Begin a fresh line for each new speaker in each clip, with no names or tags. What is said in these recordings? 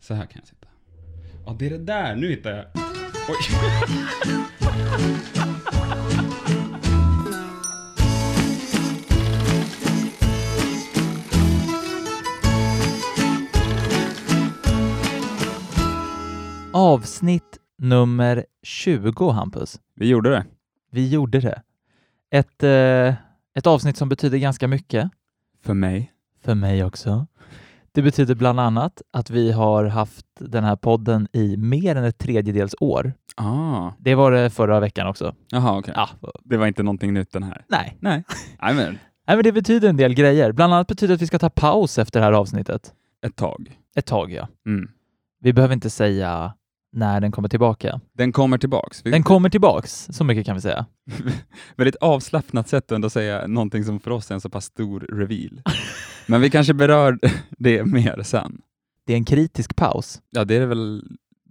Så här kan jag sitta. Ja, det är det där. Nu hittar jag. Oj.
Avsnitt nummer 20, Hampus.
Vi gjorde det.
Vi gjorde det. Ett, eh, ett avsnitt som betyder ganska mycket.
För mig.
För mig också. Det betyder bland annat att vi har haft den här podden i mer än ett tredjedels år.
Ah.
Det var det förra veckan också.
Jaha, okej.
Ja,
Det var inte någonting nytt den här.
nej.
Nej. Nej, men
nej, men det betyder en del grejer. Bland annat betyder det att vi ska ta paus efter det här avsnittet.
ett tag.
Ett tag, ja.
Mm.
Vi behöver inte säga när den kommer tillbaka.
Den kommer tillbaks. Vi-
Den kommer tillbaks, så mycket kan vi säga.
Väldigt avslappnat sätt att ändå säga någonting som för oss är en så pass stor reveal. Men vi kanske berör det mer sen.
Det är en kritisk paus.
Ja, det är det väl...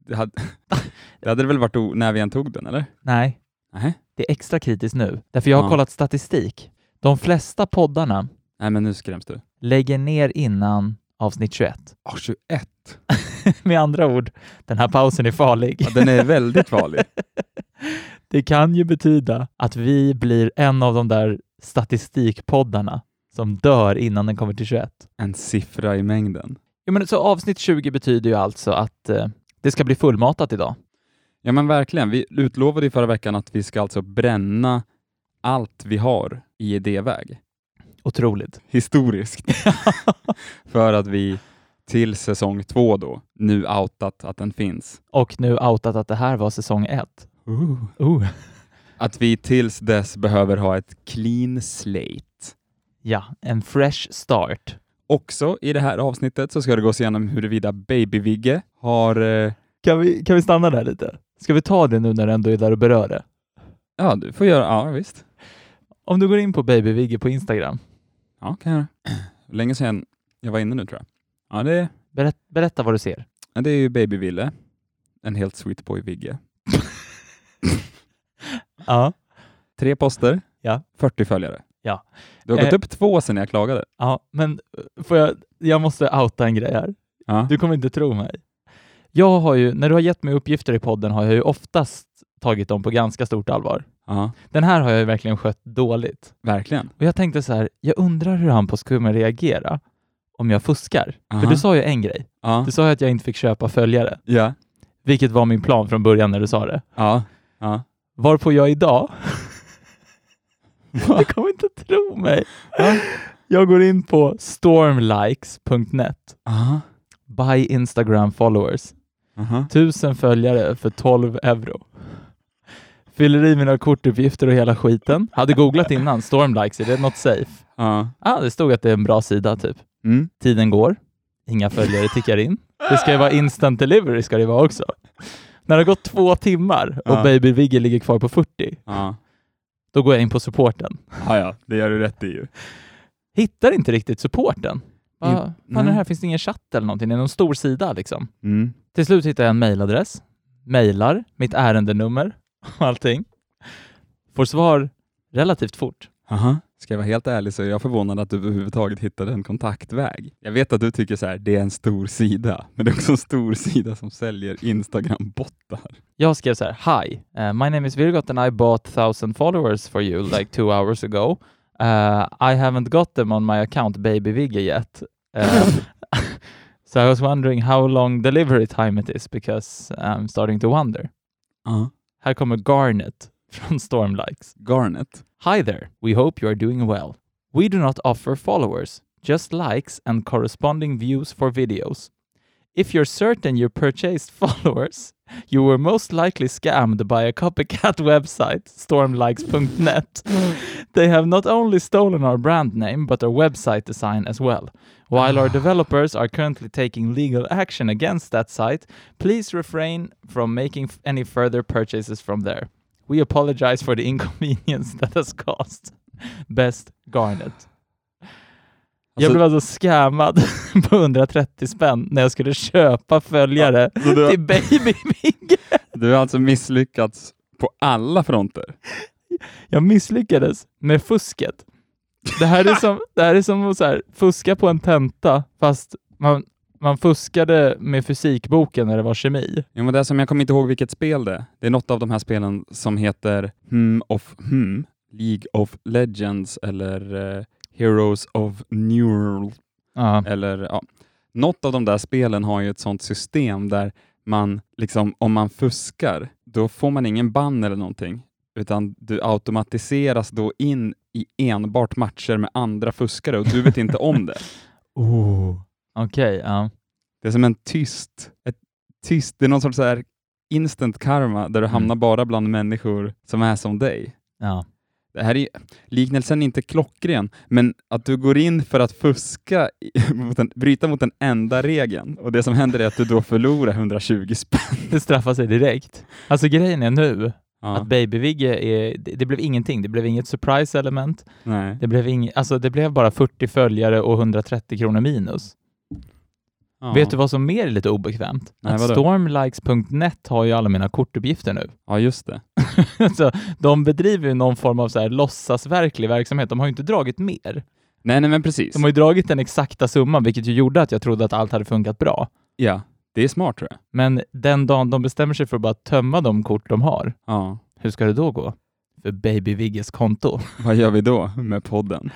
Det hade, det hade det väl varit o- när vi än tog den, eller?
Nej,
Nej.
det är extra kritiskt nu. Därför jag har
Ja.
kollat statistik. De flesta poddarna
Nej, men nu skräms du.
lägger ner innan avsnitt 21.
Ah, 21.
Med andra ord, den här pausen är farlig.
Ja, den är väldigt farlig.
Det kan ju betyda att vi blir en av de där statistikpoddarna som dör innan den kommer till 21.
En siffra i mängden.
Jo, men så avsnitt 20 betyder ju alltså att eh, det ska bli fullmatat idag.
Ja men verkligen. Vi utlovade i förra veckan att vi ska alltså bränna allt vi har i idéväg,
Otroligt.
historiskt, för att vi till säsong två då, nu outat att den finns,
Och nu outat att det här var säsong 1. Oh.
att vi tills dess behöver ha ett clean slate.
Ja, en fresh start.
Också i det här avsnittet så ska det gås igenom huruvida Baby-Vigge har... eh,
Kan vi, kan vi stanna där lite? Ska vi ta det nu när du ändå är där och berör det?
Ja, du får göra... Ja, visst.
Om du går in på babyvigge på Instagram,
Ja, kan jag göra. Länge sedan jag var inne nu tror jag. Ja, det,
berätt, berätta vad du ser.
ja, det är ju Baby-Ville. En helt sweet boy-Vigge.
Ja.
Tre poster,
Ja.
40 följare.
Ja.
Du har gått
Eh.
upp två sedan jag klagade.
Ja, men eh, får jag, jag måste outa en grej här.
Ja.
Du kommer inte tro mig. Jag har ju, när du har gett mig uppgifter i podden har jag ju oftast tagit dem på ganska stort allvar.
ja.
Den här har jag ju verkligen skött dåligt.
Verkligen.
Och jag tänkte så här, jag undrar hur Hampus kommer reagera om jag fuskar. För
Aha.
du sa ju en grej.
Ja.
Du sa ju att jag inte fick köpa följare,
Ja.
vilket var min plan från början när du sa det.
Ja. ja.
Varpå jag idag... du kommer inte tro mig.
Va?
Jag går in på stormlikes.net.
Aha.
Buy Instagram followers.
Aha.
Tusen följare för 12 euro. Fyller i mina kortuppgifter och hela skiten. Hade googlat innan, stormlikes, är det något safe?
Ja.
Ah, det stod att det är en bra sida typ.
Mm.
Tiden går, inga följare tickar in. Det ska ju vara instant delivery ska det vara också. När det har gått två timmar och
Ja.
baby Vigge ligger kvar på 40,
Ja.
då går jag in på supporten.
ja, ja, det gör du rätt i ju.
hittar inte riktigt supporten. Va,
Mm,
Fan, är det
nej.
här finns det ingen chatt eller någonting? Det är någon stor sida liksom.
Mm.
Till slut hittar jag en mailadress, mailar mitt ärendenummer och allting. Får svar relativt fort.
Aha. Ska jag vara helt ärlig så är jag förvånad att du överhuvudtaget hittade en kontaktväg. Jag vet att du tycker så här, det är en stor sida, men det är också en stor sida som säljer Instagram-bottar.
Jag skrev så här, Hi, uh, my name is Virgot and I bought thousand followers for you like two hours ago. Uh, I haven't got them on my account baby Vigge yet. Uh, so I was wondering how long delivery time it is because I'm starting to wonder.
Ja.
Här kommer Garnet från Stormlikes.
Garnet.
Hi there, we hope you are doing well. We do not offer followers, just likes and corresponding views for videos. If you're certain you purchased followers, you were most likely scammed by a copycat website, stormlikes.net. They have not only stolen our brand name, but our website design as well. While our developers are currently taking legal action against that site, please refrain from making f- any further purchases from there. We apologize for the inconvenience that has caused. Best Garnet. Jag
Alltså-
blev alltså scammad på 130 spänn när jag skulle köpa följare
Så du,
till Baby Mink.
du har alltså misslyckats på alla fronter.
Jag misslyckades med fusket. Det här är som, det här är som att så här, fuska på en tenta fast man, man fuskade med fysikboken när det var kemi.
Jo, men det är som jag kommer inte ihåg vilket spel det är. Det är något av de här spelen som heter Hmm of Hmm, League of Legends eller eh, Heroes of Neural
Ja.
eller ja. Något av de där spelen har ju ett sånt system där man liksom, om man fuskar, då får man ingen bann eller någonting, utan du automatiseras då in i enbart matcher med andra fuskare och du vet inte om det.
Oh. Okej, ja.
Det är som en tyst, ett tyst, det är någon sorts så här instant karma
Mm.
där du hamnar bara bland människor som är som dig.
ja.
Det här är, liknelsen är inte klockren, men att du går in för att fuska, i- mot en, bryta mot den enda regeln och det som händer är att du då förlorar 120 spänn.
Det straffar sig direkt. Alltså grejen är nu att
Ja,
Baby-Vigge är... Det, det blev ingenting. Det blev inget surprise element.
nej.
Det blev, ing, alltså, det blev bara 40 följare och 130 kronor minus.
Ja.
Vet du vad som mer är lite obekvämt?
Nej,
att
vadå?
stormlikes.net har ju alla mina kortuppgifter nu.
Ja, just det.
så de bedriver ju någon form av så här låtsasverklig verksamhet. De har ju inte dragit mer.
Nej, nej, men precis.
De har ju dragit den exakta summan, vilket ju gjorde att jag trodde att allt hade funkat bra.
Ja, det är smart tror jag.
Men den dagen de bestämmer sig för att bara tömma de kort de har,
Ja.
hur ska det då gå? För Baby Vigges konto.
Vad gör vi då med podden?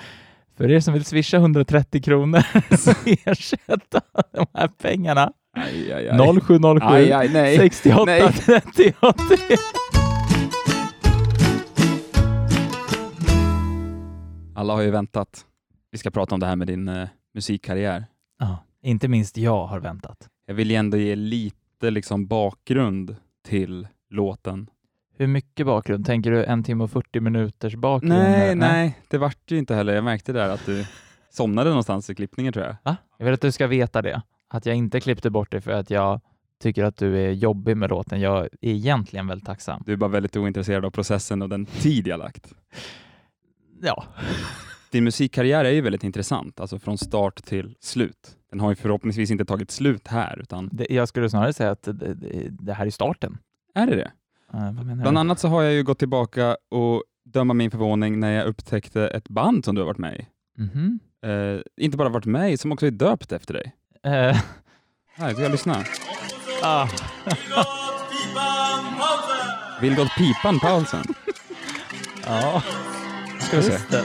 För er som vill swisha 130 kronor så ersätta de här pengarna.
Aj, aj, aj.
0707
Aj, aj, nej.
68
Nej.
38.
Alla har ju väntat. Vi ska prata om det här med din eh, musikkarriär.
Ja, inte minst jag har väntat.
Jag vill ju ändå ge lite liksom, bakgrund till låten.
Hur mycket bakgrund? Tänker du en timme och 40 minuters bakgrund?
Nej,
här?
nej, det vart ju inte heller. Jag märkte där att du somnade någonstans i klippningen tror jag.
Va? Jag vill att du ska veta det. Att jag inte klippte bort det för att jag tycker att du är jobbig med låten. Jag är egentligen väldigt tacksam.
Du är bara väldigt ointresserad av processen och den tid jag lagt.
Ja.
Din musikkarriär är ju väldigt intressant, alltså från start till slut. Den har ju förhoppningsvis inte tagit slut här, utan
Det, jag skulle snarare säga att det, det, det här är starten.
är det det?
Eh, vad menar
Bland
du?
annat så har jag ju gått tillbaka och döma min förvåning när jag upptäckte ett band som du har varit med i.
Mhm.
Eh, inte bara varit med i, som också är döpt efter dig.
Eh,
Här, ska jag lyssna?
ah,
Vilgot Pipan Paulsen.
ja,
Ska vi se.
just det.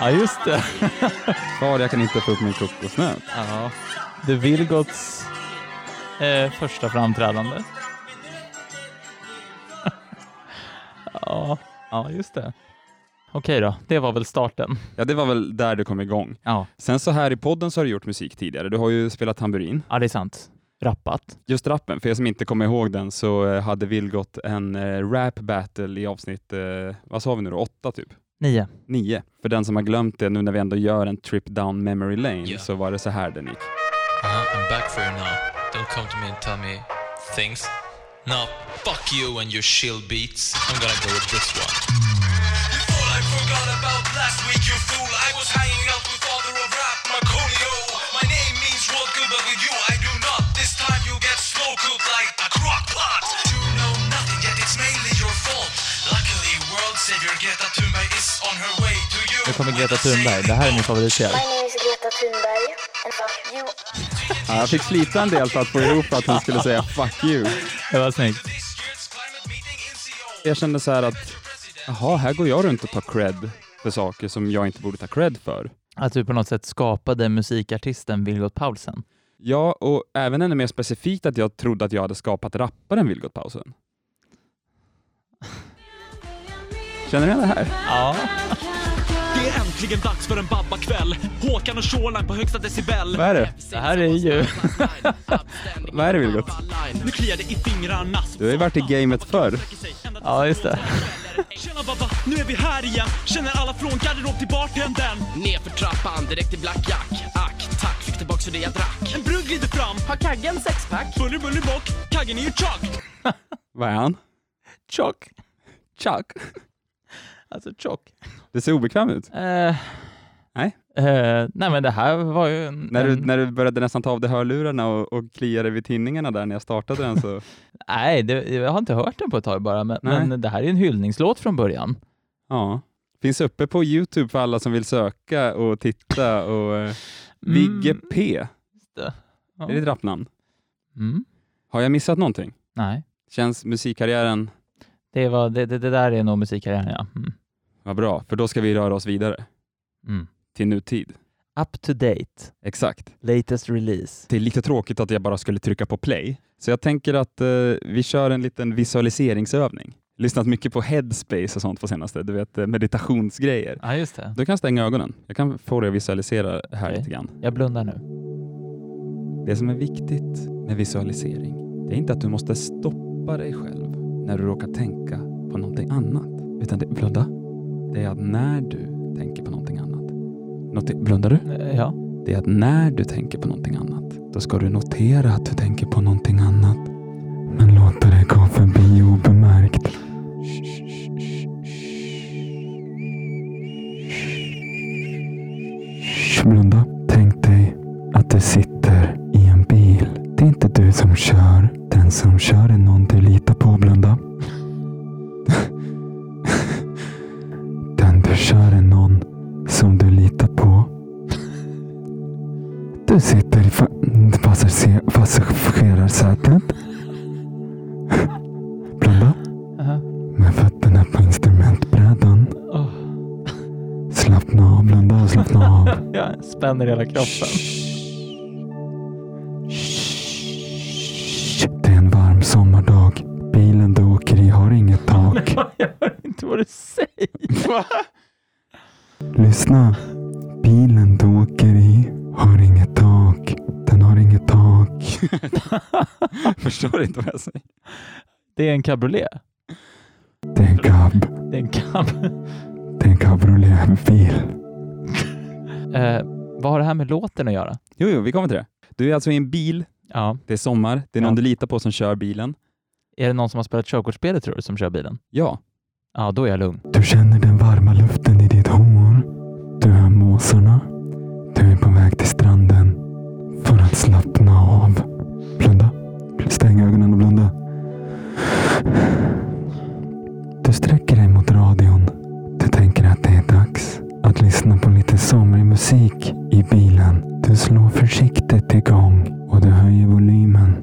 Ja, just det.
Far, jag kan inte få upp min kokosnöt.
Ja. The Vilgots eh, första framträdande. ja. ja, just det. Okej då, det var väl starten.
Ja, det var väl där du kom igång.
Ja,
Sen så här i podden så har du gjort musik tidigare. Du har ju spelat tamburin.
ja det är sant. Rappat.
Just rappen, för er som inte kommer ihåg den så eh, hade Vilgot en eh, rap battle i avsnitt, eh, vad sa vi nu då, åtta typ?
Uh-huh,
Nio.
Nio. För den som har glömt det nu när vi ändå gör en trip down memory lane så var det så här den gick.
Uh-huh, I'm back for you now. Don't come to me and tell me things. Now, fuck you and your shill beats. I'm gonna go with this one.
You thought I forgot about last week, you fool. I was hanging out with father of rap, Marcolio. My name means world good, but with you I do not. This time you get slow cooked like a crock pot. You know nothing, yet it's mainly your fault. Luckily, world savior Greta Thunberg is on her way to you.
Nu kommer Greta Thunberg. Det här är min favoritlåt.
My name is Greta Thunberg and fuck you
Ja, jag fick slita en del för att få ihop att hon skulle säga fuck you.
Det var snyggt.
This year's climate meeting in E Seoul.
Jag kände så här att, jaha, här går jag runt och tar cred för saker som jag inte borde ta cred för.
Att du på något sätt skapade musikartisten Vilgot Paulsen.
Ja, och även ännu mer specifikt att jag trodde att jag hade skapat rapparen Vilgot Paulsen. Känner ni igen det här?
Ja.
Det är äntligen dags för en babbakväll. Håkan och Shoreline på högsta decibel.
Vad är det?
Det här är ju...
Vad är det Vilgot?
Nu kliar det i fingrarna.
Du har ju varit i gamet förr.
Ja, just det.
Tjena babba, nu är vi här igen. Känner alla från garderob till bartendern.
Nerför trappan, direkt i Black Jack Ack, tack, fick tillbaks för det jag drack
En brugg glider fram.
Har kaggen sexpack?
Buller buller bock, kaggen är ju tjock.
Vad är han?
Tjock.
Chuck.
Alltså tjock.
Det ser obekväm ut.
Eh,
Nej.
Eh, nej, men det här var ju... En,
När du,
en,
när du började nästan ta av dig hörlurarna och, och klia dig vid tinningarna där när jag startade den så...
nej det, jag har inte hört den på ett tag bara, men,
Nej.
men det här är en hyllningslåt från början.
Ja. Finns uppe på Youtube för alla som vill söka och titta. Och, eh, Vigge
Mm,
P,
det. Ja.
är det ett rappnamn?
Mm.
Har jag missat någonting?
Nej,
Känns musikkarriären,
det, var, det, det, det där är nog musikkarriären ja. Mm.
vad bra, för då ska vi röra oss vidare
Mm.
till nutid.
Up to date,
Exakt.
latest release.
Det är lite tråkigt att jag bara skulle trycka på play, så jag tänker att eh, vi kör en liten visualiseringsövning. Lyssnat mycket på headspace och sånt på senaste, du vet eh, meditationsgrejer.
Ja, just det.
Du kan stänga ögonen. Jag kan få dig att visualisera här
Okej.
lite grann.
Jag blundar nu.
Det som är viktigt med visualisering, det är inte att du måste stoppa dig själv när du råkar tänka på någonting annat. Utan det, blunda, det är att när du tänker på någonting annat. Noter, blundar du?
Eh, Ja,
Det är att när du tänker på någonting annat, då ska du notera att du tänker på någonting annat. Men låta det gå förbi obemärkt. Blunda. Tänk dig att du sitter i en bil. Det är inte du som kör. Den som kör är någon du litar på, blunda. Den du kör är någon som du litar på. Du sitter i fa- passager- passagerarsätet. Blunda.
Aha.
Med fötterna på instrumentbrädan.
Åh.
Slappna av, blunda och slappna av.
jag spänner hela kroppen.
Shh. Det är en varm sommardag. Bilen du åker i har inget tak.
Jag hör inte vad du säger.
Lyssna. Bilen du åker i har inget tak. Den har inget tak. Förstår inte vad jag säger.
Det är en cabriolet.
Det är en cab.
Det är en cab.
Det är en cabrioletbil.
Eh, vad har det här med låten att göra?
Jo, jo, vi kommer till det. Du är alltså i en bil.
Ja.
Det är sommar. Det är någon
Ja.
du litar på som kör bilen.
Är det någon som har spelat körkortsspelet tror du som kör bilen?
Ja.
Ja, då är jag lugn.
Du känner den varma luften i ditt hår. Du hör måsarna. Du är på väg till stranden för att slappna av. Blunda. Stäng ögonen och blunda. Du sträcker dig mot radion. Du tänker att det är dags att lyssna på lite somrig musik i bilen. Du slår försiktigt igång och du höjer volymen.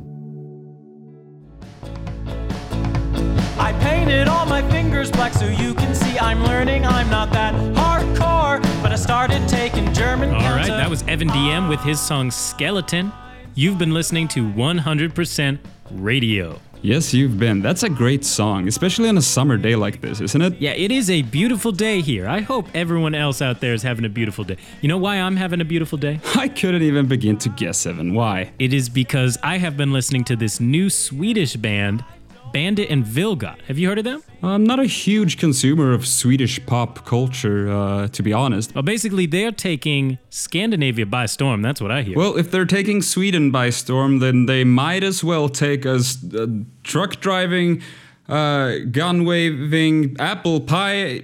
I painted all my fingers black so you can see I'm learning. I'm not that hardcore, but I started taking German.
All right,
counter-
that was Evan DM with his song Skeleton. You've been listening to 100% Radio.
Yes, you've been. That's a great song, especially on a summer day like this, isn't it?
Yeah, it is a beautiful day here. I hope everyone else out there is having a beautiful day. You know why I'm having a beautiful day?
I couldn't even begin to guess, Evan. Why?
It is because I have been listening to this new Swedish band, Bandit and Vilgot. Have you heard of them?
I'm not a huge consumer of Swedish pop culture, uh, to be honest.
Well, basically, they're taking Scandinavia by storm. That's what I hear.
Well, if they're taking Sweden by storm, then they might as well take us uh, truck driving, uh, gun waving, apple pie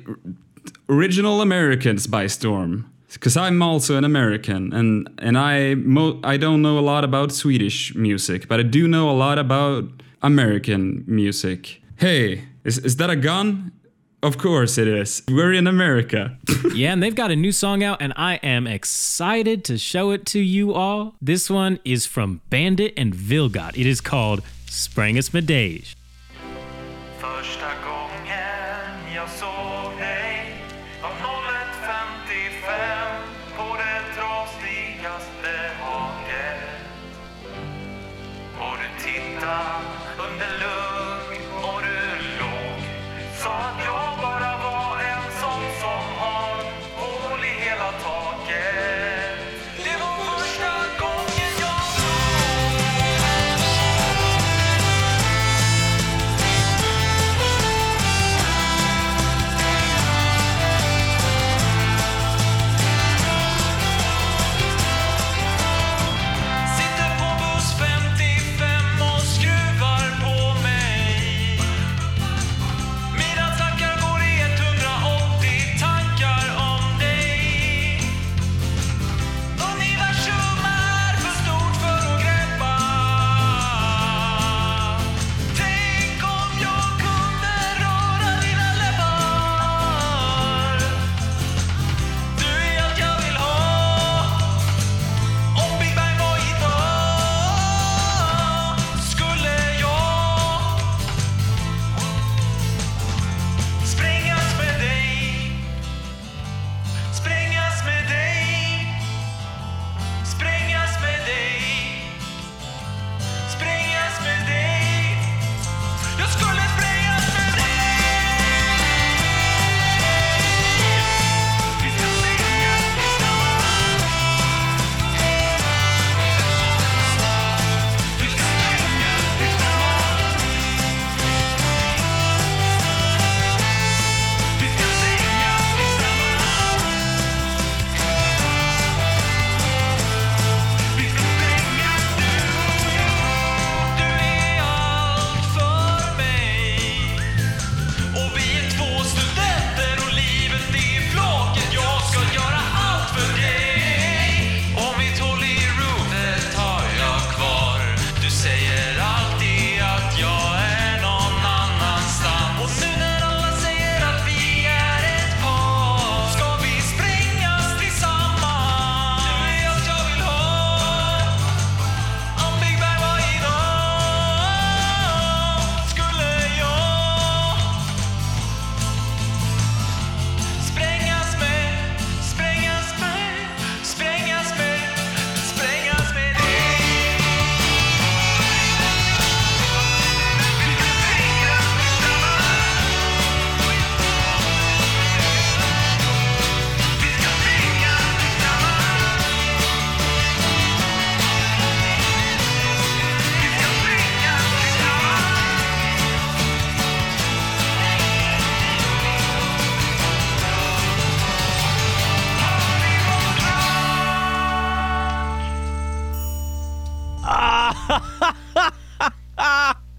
original Americans by storm. Because I'm also an American, and and I mo- I don't know a lot about Swedish music, but I do know a lot about American music. Hey, is is that a gun? Of course it is. We're in America.
Yeah, and they've got a new song out, and I am excited to show it to you all. This one is from Bandit and Vilgot. It is called Sprangus Medage.
Första gången jag såg dig var 01.55 på det trasigaste haket. Och du tittade under lugg och du låg. Sa att jag bara var en sån som har hål i hela taket. Det var första gången jag såg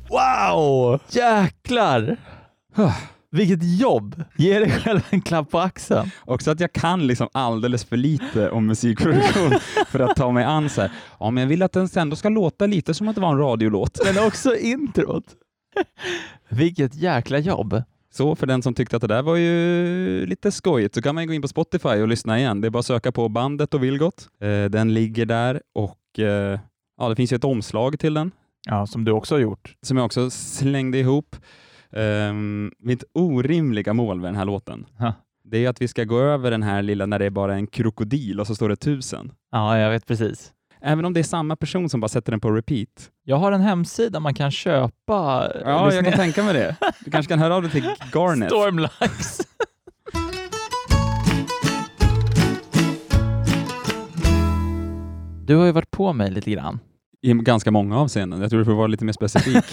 Wow! Jäklar! Vilket jobb! Ge dig själv en klapp på axeln.
Också att jag kan liksom alldeles för lite om musikproduktion för att ta mig an så här. Ja, men jag vill att den ändå ska låta lite som att det var en radiolåt.
Men också introt. Vilket jäkla jobb.
Så för den som tyckte att det där var ju lite skojigt så kan man ju gå in på Spotify och lyssna igen. Det är bara att söka på bandet och Vilgot. Eh, den ligger där och eh, ja, det finns ju ett omslag till den
Ja, som du också har gjort.
som jag också slängde ihop. Ehm, mitt orimliga mål med den här låten,
Ja.
det är att vi ska gå över den här lilla när det är bara en krokodil och så står det tusen.
Ja, jag vet precis.
Även om det är samma person som bara sätter den på repeat.
Jag har en hemsida man kan köpa
Ja,
eh,
jag kan
lyssningar-
tänka mig det. Du kanske kan höra av dig till Garnet.
Stormlax. Du har ju varit på mig lite grann.
I ganska många avseenden. Jag tror du får vara lite mer specifik.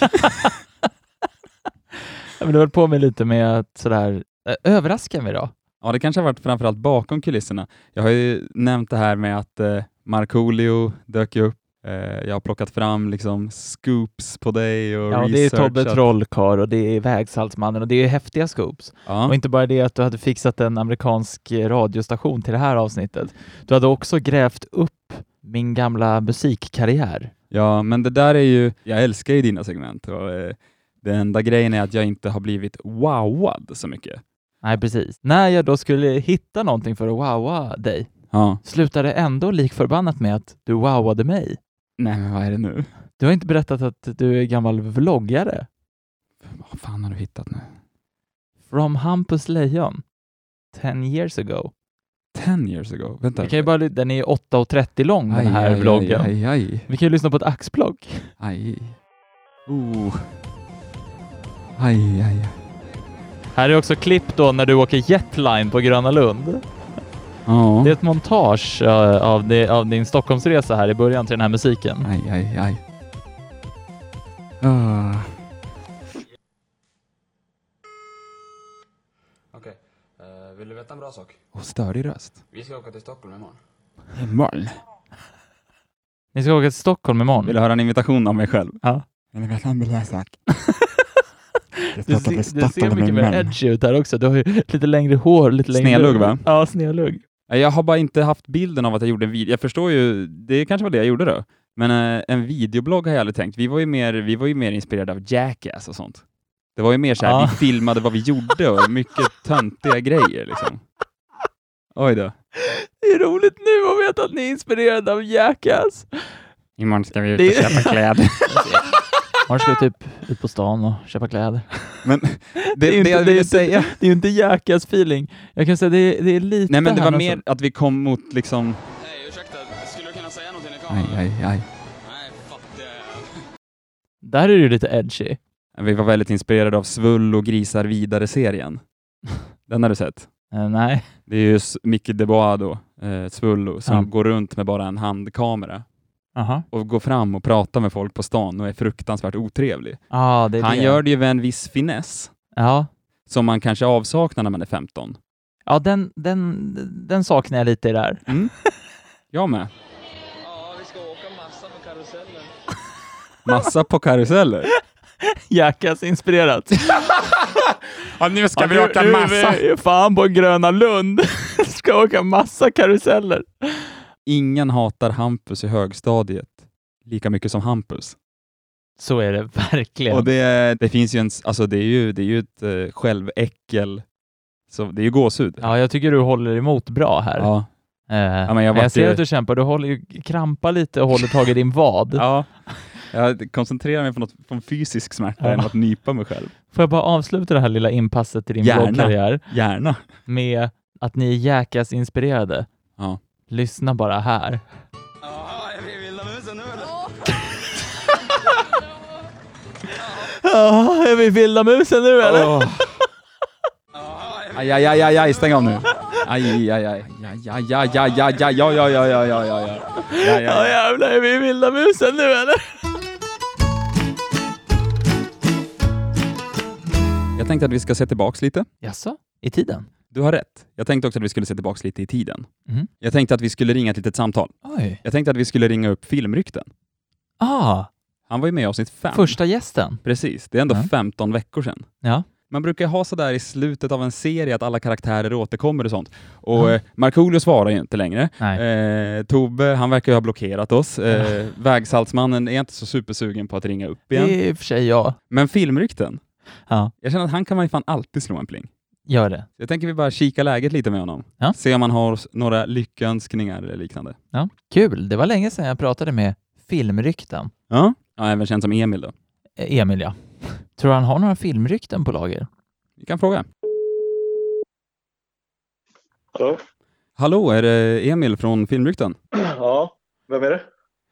Ja, men du har varit på mig lite med att sådär, eh, överraska mig då.
Ja, det kanske har varit framförallt bakom kulisserna. Jag har ju nämnt det här med att eh, Markoolio dök ju upp. Eh, jag har plockat fram liksom scoops på dig och
Ja, det är
researchat.
Tobbe Trollkarl och det är Vägsaltsmannen och det är häftiga scoops.
Ja.
Och inte bara det att du hade fixat en amerikansk eh, radiostation till det här avsnittet. Du hade också grävt upp min gamla musikkarriär.
ja, men det där är ju... Jag älskar ju dina segment. Och, eh, den enda grejen är att jag inte har blivit wowad så mycket.
Nej, precis. När jag då skulle hitta någonting för att wowa dig
Ja.
slutade ändå likförbannat med att du wowade mig.
Nej, men vad är det nu?
Du har inte berättat att du är gammal vloggare.
Vad fan har du hittat nu?
From Hampus Lejon. 10 years ago.
Ten years ago? Vänta.
Vi kan ju bara, ly- den är 8.30 lång den här vloggen.
Aj, aj, aj.
Vi kan ju lyssna på ett axplock.
Aj. Oh. Aj, aj, aj.
Här är också klipp då när du åker jetline på Gröna Lund.
Ja.
Det är ett montage eh, av, det, av din Stockholmsresa här i början till den här musiken.
Aj, aj, aj. Ah.
Okej, eh, vill du veta en bra sak?
Och störig röst.
Vi ska åka till Stockholm imorgon.
Imorgon.
Ni ska åka till Stockholm imorgon.
Vill du höra en invitation av mig själv?
Ja.
Vill du veta en bra sak? Jag
Du,
ska åka till
ser- du ser
Stockholm
mycket mer
imorgon.
edgy ut här också. Du har ju lite längre hår, lite längre...
Snedlugg, va?
Ja, snedlugg.
Nej, Jag har bara inte haft bilden av att jag gjorde en video. Jag förstår ju, det kanske var det jag gjorde då. Men eh, en videoblogg har jag aldrig tänkt. Vi var ju mer, vi var ju mer inspirerade av Jackass och sånt. Det var ju mer så här,
Ja.
vi filmade vad vi gjorde och mycket töntiga grejer liksom. Oj då.
Det är roligt nu att veta att ni är inspirerade av Jackass.
Imorgon ska vi ut
Det är-
kläder.
Imorgon ska vi typ ut på stan och köpa kläder.
Men det,
är ju
det,
inte-
jag
det är ju
ville
inte-
säga...
Det är ju inte Jackass-feeling. Jag kan säga det är, det är lite
Nej men det
här
var
någonstans.
mer att vi kom mot liksom...
Hej, ursäkta. Skulle du kunna säga någonting i
Aj,
kameran?
aj, aj.
Nej, fuck det.
Där är du lite edgy.
Vi var väldigt inspirerade av Svull och grisar vidare-serien. Den har du sett?
Eh, nej.
Det är ju s- Micke Debaado, eh, Svullo, som
Ja.
går runt med bara en handkamera
Aha.
och går fram och pratar med folk på stan och är fruktansvärt otrevlig.
Ah, det är
Han
det.
gör det ju med en viss finess
Ja.
som man kanske avsaknar när man är 15.
Ja, den, den, den saknar jag lite i det här.
Mm. Jag med.
Ja, vi ska åka massa på karusellen.
Massa på karuseller.
Jackass inspirerat.
Ja, nu ska
Nu är vi fan på Gröna Lund. Ska åka massa karuseller.
Ingen hatar Hampus i högstadiet lika mycket som Hampus.
Så är det verkligen.
Och det, det finns ju en, s- alltså det är ju, det är ju ett eh, själväckel, så det är ju gåshud.
Ja, jag tycker du håller emot bra här.
Ja.
Eh,
jag
men jag,
vart
ser
ju-
att du kämpar. Du håller ju krampar lite och håller tag i din vad.
Ja, jag koncentrerar mig på något från fysisk smärta
Ja.
än att nypa mig själv.
Får jag bara avsluta det här lilla inpasset i din
Gärna.
bloggkarriär
Gärna.
med att ni är Jackass inspirerade.
Ja.
Lyssna bara här.
Jaha, jag blir vilda musen nu eller?
är vi vilda musen nu eller?
Aj, aj, aj, aj, aj, stäng av nu. Aj, aj, aj, aj, aj, aj, aj, aj, aj, aj, ja, ja, ja, ja, ja, ja, ja. Ja, ja, ja.
jävlar, är vi vilda musen nu eller?
Jag tänkte att vi ska se tillbaks lite.
Jaså? I tiden?
Du har rätt. Jag tänkte också att vi skulle se tillbaks lite i tiden.
Mhm.
Jag tänkte att vi skulle ringa ett litet samtal.
Oj.
Jag tänkte att vi skulle ringa upp filmrykten.
Ah,
Han var ju med i avsnitt fem.
Första gästen.
Precis, det är ändå
Ja.
15 veckor sedan.
Ja.
Man brukar ha sådär i slutet av en serie att alla karaktärer återkommer och sånt. Och eh, Markoolio svarar ju inte längre.
Nej.
Eh, Tobbe, han verkar ju ha blockerat oss. Eh, Vägsaltsmannen är inte så supersugen på att ringa upp igen.
Det är i och för sig jag.
Men filmrykten,
Ja,
jag känner att han kan man ju fan alltid slå en pling.
gör det.
Jag tänker vi bara kika läget lite med honom.
Ja.
Se om han har s- några lyckönskningar eller liknande.
Ja. Kul. Det var länge sedan jag pratade med filmrykten.
Ja, ja även känd som Emil då.
Eh, Emil, ja. Tror du han har några filmrykten på lager?
Vi kan fråga.
Hallå?
Hallå, är det Emil från Filmrykten?
Ja, vem är det?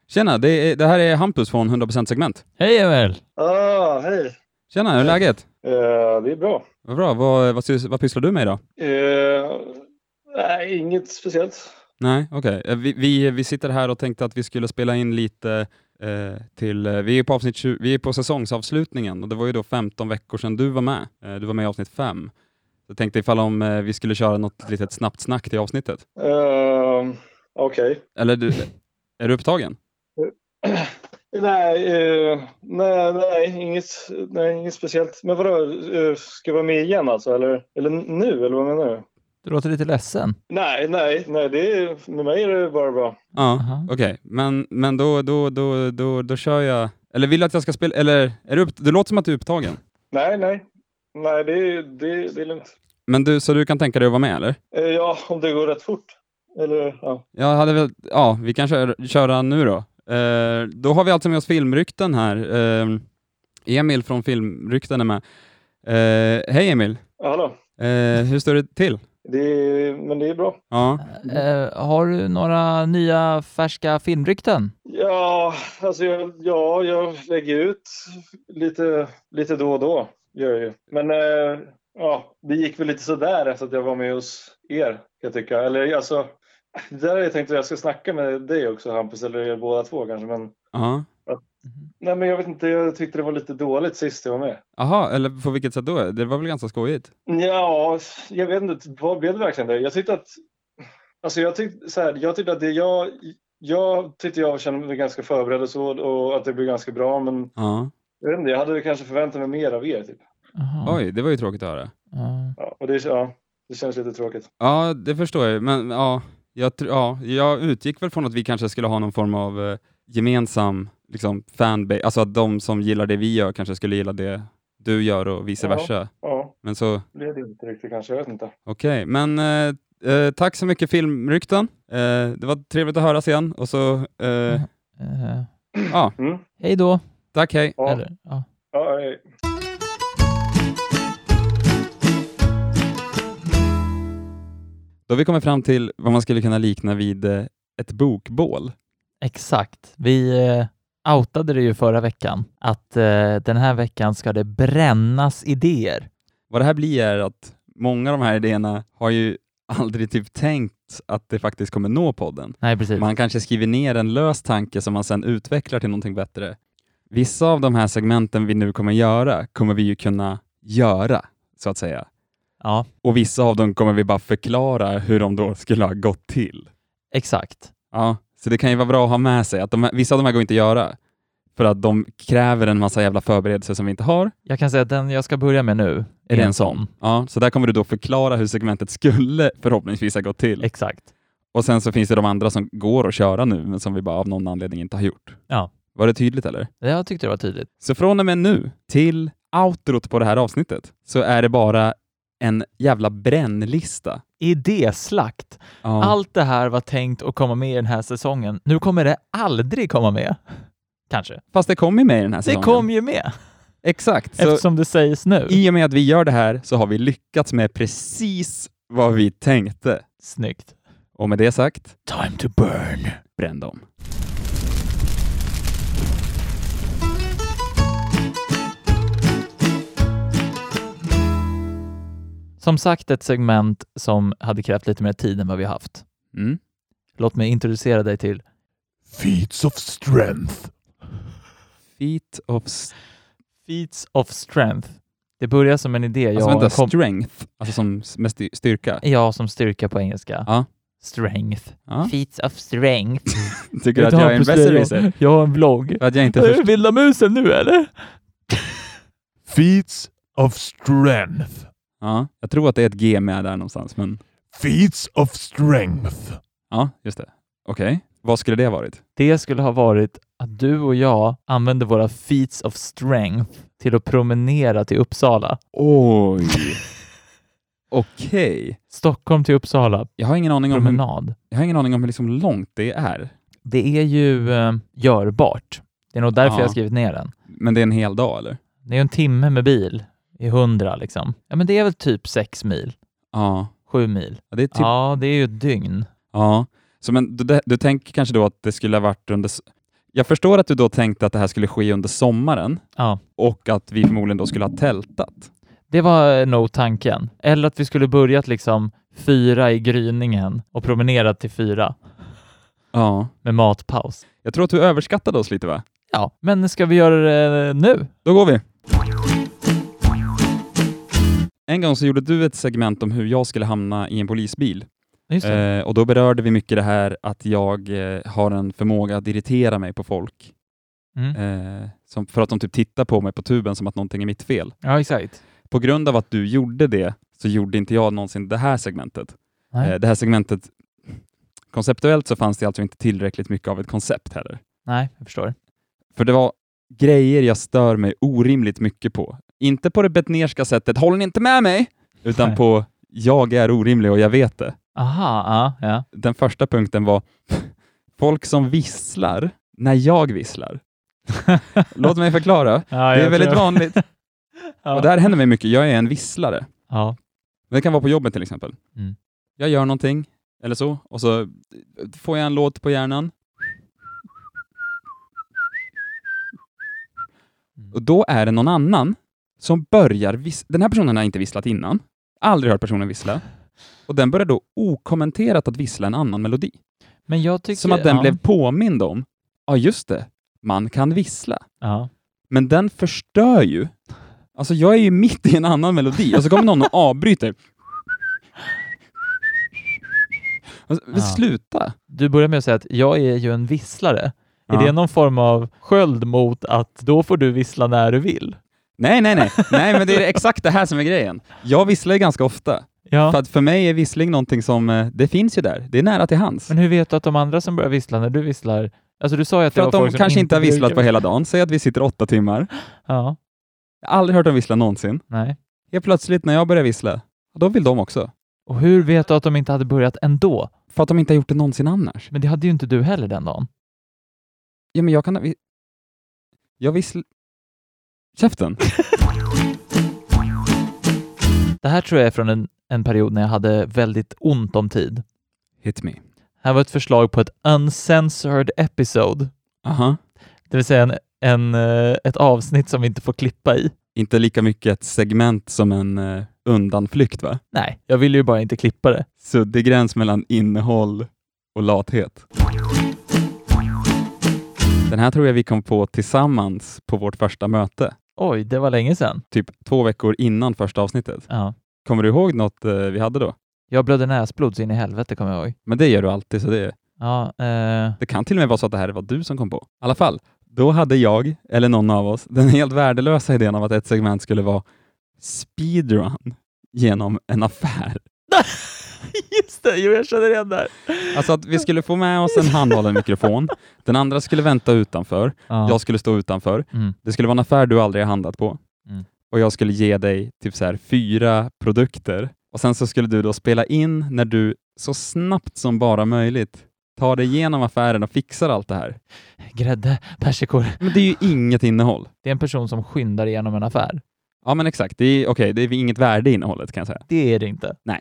Tjena, det, är, det här är Hampus från 100% Segment.
Hej Emil!
Ah, hej.
Tjena, hur är läget?
Eh, det är bra.
Vad bra, vad, vad, sys- vad pysslar du med idag?
Eh, nej, inget speciellt.
Nej, okej. Eh, Vi, vi, vi sitter här och tänkte att vi skulle spela in lite eh, till... Eh, vi, är på avsnitt 20, vi är på säsongsavslutningen och det var ju då 15 veckor sedan du var med. Eh, du var med i avsnitt 5. Jag tänkte ifall om eh, vi skulle köra något litet snabbt snack till avsnittet.
Eh, Okej.
Eller du, är du upptagen?
Nej, eh, nej, nej, inget, nej, inget speciellt. Men vadå, eh, ska jag vara med igen alltså? Eller, eller nu, eller vad menar du?
Du låter lite ledsen.
Nej, nej, nej, det är, med mig är det bara bra.
Ja, okej. Men, men då, då, då, då, då kör jag... Eller vill du att jag ska spela... Eller är du upp, det låter som att du är upptagen.
Nej, nej, nej, det, är- det, det är lugnt.
Men du, så du kan tänka dig att vara med eller?
Eh, ja, om det går rätt fort. Eller, ja.
Jag hade väl, ja, vi kan köra, köra nu då. Eh, då har vi alltså med oss filmrykten här. Eh, Emil från Filmrykten är med. Eh, hej Emil!
Ja, Hallå?
Eh, hur står det till?
Det är, men det är bra.
Ja.
Eh, har du några nya färska filmrykten?
Ja, alltså jag, ja, jag lägger ut lite, lite då och då. Gör jag ju. Men eh, ja, det gick väl lite sådär efter att jag var med hos er, kan jag tycka. Eller alltså, det där har jag tänkt att jag ska snacka med dig också Hampus, eller er båda två kanske. Men,
Jaha,
nej, men jag vet inte, jag tyckte det var lite dåligt sist jag var med.
Aha, eller på vilket sätt då? Det var väl ganska skojigt?
Ja, jag vet inte, vad blev det verkligen det? Jag tyckte att, alltså jag tyckte så här, jag tyckte att det jag, jag tyckte jag kände mig ganska förberedd och så och att det blev ganska bra, men
Ja.
Jag vet inte, jag hade väl kanske förväntat mig mer av er. Typ.
Oj, det var ju tråkigt att höra.
Ja, och det, ja, det känns lite tråkigt.
Ja, det förstår jag. Men ja, jag, tr- ja, jag utgick väl från att vi kanske skulle ha någon form av eh, gemensam liksom, fanbase, alltså att de som gillar det vi gör kanske skulle gilla det du gör och vice
Ja,
versa.
ja.
Men så,
Det blev det inte riktigt kanske, jag vet inte.
okej. Men eh, eh, tack så mycket filmrykten. Eh, det var trevligt att höras igen och så, eh,
Eh,
ja.
hej då!
Tack, hej.
Eller, ja.
Ja, eh,
Då har vi kommit fram till vad man skulle kunna likna vid eh, ett bokbål.
Exakt. Vi eh, outade det ju förra veckan att eh, den här veckan ska det brännas idéer.
Vad det här blir är att många av de här idéerna har ju aldrig typ tänkt att det faktiskt kommer nå podden.
Nej, precis.
Man kanske skriver ner en lös tanke som man sedan utvecklar till någonting bättre. Vissa av de här segmenten vi nu kommer göra kommer vi ju kunna göra, så att säga.
Ja.
Och vissa av dem kommer vi bara förklara hur de då skulle ha gått till.
Exakt.
Ja, så det kan ju vara bra att ha med sig att de här, vissa av de här går inte att göra för att de kräver en massa jävla förberedelser som vi inte har.
Jag kan säga att den jag ska börja med nu
Är det en sån? Ja, så där kommer du då förklara hur segmentet skulle förhoppningsvis ha gått till.
Exakt.
Och sen så finns det de andra som går att köra nu, men som vi bara av någon anledning inte har gjort.
Ja.
Var det tydligt eller?
Jag tyckte det var tydligt.
Så från och med nu till outrot på det här avsnittet så är det bara en jävla brännlista.
Idéslakt.
Ja.
Allt det här var tänkt att komma med i den här säsongen. Nu kommer det aldrig komma med. Kanske.
Fast det kom ju med i den här
Det
säsongen.
kom ju med.
Exakt. Så
Eftersom det sägs nu.
I och med att vi gör det här så har vi lyckats med precis vad vi tänkte.
Snyggt.
Och med det sagt,
Time to burn.
bränn dem.
Som sagt, ett segment som hade krävt lite mer tid än vad vi har haft.
Mm.
Låt mig introducera dig till
Feats of strength.
Feet of... s-
Feats of strength. Det börjar som en idé jag
Alltså vänta,
kom...
strength. Alltså som s- med sty- styrka.
Ja, som styrka på engelska.
Ja.
Strength.
Ja.
Feats of strength.
Tycker du att jag är en besserwisser?
Jag har en vlogg.
För att jag inte
Är du
förstår.
vilda musen nu eller?
Feats of strength.
Ja, jag tror att det är ett G med där någonstans, men
Feats of strength.
ja, just det. Okej, vad skulle det varit?
Det skulle ha varit att du och jag använde våra feats of strength till att promenera till Uppsala.
Oj. Okej.
Stockholm till Uppsala.
Jag har ingen aning om hur,
Promenad.
jag har ingen aning om hur liksom långt det är,
Det är ju eh, görbart. Det är nog därför
Ja.
jag har skrivit ner den.
men det är en hel dag eller?
Det är ju en timme med bil i hundra liksom. Ja, men det är väl typ sex mil,
Ja,
sju mil.
Ja, det är typ
Ja, det är ju ett dygn.
Ja, så men du, du tänker kanske då att det skulle ha varit under... s- Jag förstår att du då tänkte att det här skulle ske under sommaren
Ja.
och att vi förmodligen då skulle ha tältat.
Det var eh, nog tanken. Eller att vi skulle börjat liksom fyra i gryningen och promenerat till fyra
Ja.
med matpaus.
Jag tror att du överskattade oss lite va?
Ja, men ska vi göra det eh, nu?
Då går vi! En gång så gjorde du ett segment om hur jag skulle hamna i en polisbil.
Just det.
Eh, och då berörde vi mycket det här att jag eh, har en förmåga att irritera mig på folk.
Mm.
Eh, som, för att de typ tittar på mig på tuben som att någonting är mitt fel.
Ja, exakt.
På grund av att du gjorde det så gjorde inte jag någonsin det här segmentet.
Nej.
Eh, Det här segmentet, konceptuellt så fanns det alltså inte tillräckligt mycket av ett koncept heller.
Nej, jag förstår.
För det var grejer jag stör mig orimligt mycket på. Inte på det betnerska sättet, håller ni inte med mig? Utan
Nej.
på, jag är orimlig och jag vet det.
Aha, ja, ja.
Den första punkten var, folk som visslar när jag visslar. Låt mig förklara.
ja
Det är
jag
väldigt
tror-
vanligt.
Ja.
Och det här händer mig mycket, jag är en visslare.
Ja.
Det kan vara på jobbet till exempel.
Mm.
Jag gör någonting, eller så, och så får jag en låt på hjärnan.
Mm.
Och då är det någon annan som börjar vissla. Den här personen har inte visslat innan. Aldrig hört personen vissla. Och den börjar då okommenterat att vissla en annan melodi.
Men jag tycker...
Som att den
ja.
blev påmind om, ja just det, man kan vissla.
Ja.
Men den förstör ju. Alltså jag är ju mitt i en annan melodi och så kommer någon och avbryter. Alltså, men
Ja.
Sluta!
Du börjar med att säga att jag är ju en visslare.
Ja.
Är det någon form av sköld mot att då får du vissla när du vill?
Nej, nej, nej. Nej, men det är exakt det här som är grejen. Jag visslar ju ganska ofta.
Ja.
För att för mig är vissling någonting som, eh, det finns ju där. Det är nära till hands.
Men hur vet du att de andra som börjar vissla när du visslar... Alltså du sa ju att det
För
var
att de
folk som
kanske inte har visslat på
brukar-
hela dagen. Säg att vi sitter åtta timmar.
Ja,
Jag har aldrig hört dem vissla någonsin.
nej.
Helt plötsligt när jag börjar vissla, då vill de också.
Och hur vet du att de inte hade börjat ändå?
För att de inte har gjort det någonsin annars.
Men det hade ju inte du heller den dagen.
Ja, men jag kan... vi- Jag vissl... Käften!
Det här tror jag är från en, en period när jag hade väldigt ont om tid.
Hit me.
Här var ett förslag på ett uncensored episode,
Aha.
det vill säga en, en, eh, ett avsnitt som vi inte får klippa i.
Inte lika mycket ett segment som en eh, undanflykt, va?
Nej, jag ville ju bara inte klippa det.
Suddig gräns mellan innehåll och lathet. Den här tror jag vi kom på tillsammans på vårt första möte,
Oj, det var länge sedan.
typ två veckor innan första avsnittet.
Ja.
Kommer du ihåg något eh, vi hade då?
Jag blödde näsblod så in i helvete kommer jag ihåg.
Men det gör du alltid, så det,
Ja, eh,
det kan till och med vara så att det här var du som kom på. I alla fall, då hade jag, eller någon av oss, den helt värdelösa idén om att ett segment skulle vara speedrun genom en affär.
Just det, jo jag känner igen det här.
Alltså att vi skulle få med oss en handhållen mikrofon, den andra skulle vänta utanför,
Ja.
jag skulle stå utanför,
Mm.
det skulle vara en affär du aldrig har handlat på
Mm.
och jag skulle ge dig typ så här fyra produkter och sen så skulle du då spela in när du så snabbt som bara möjligt tar dig igenom affären och fixar allt det här.
Grädde, persikor.
Men det är ju inget innehåll.
Det är en person som skyndar igenom en affär.
Ja men exakt, det är, okej, det är inget värde i innehållet kan jag säga.
Det är det inte.
Nej.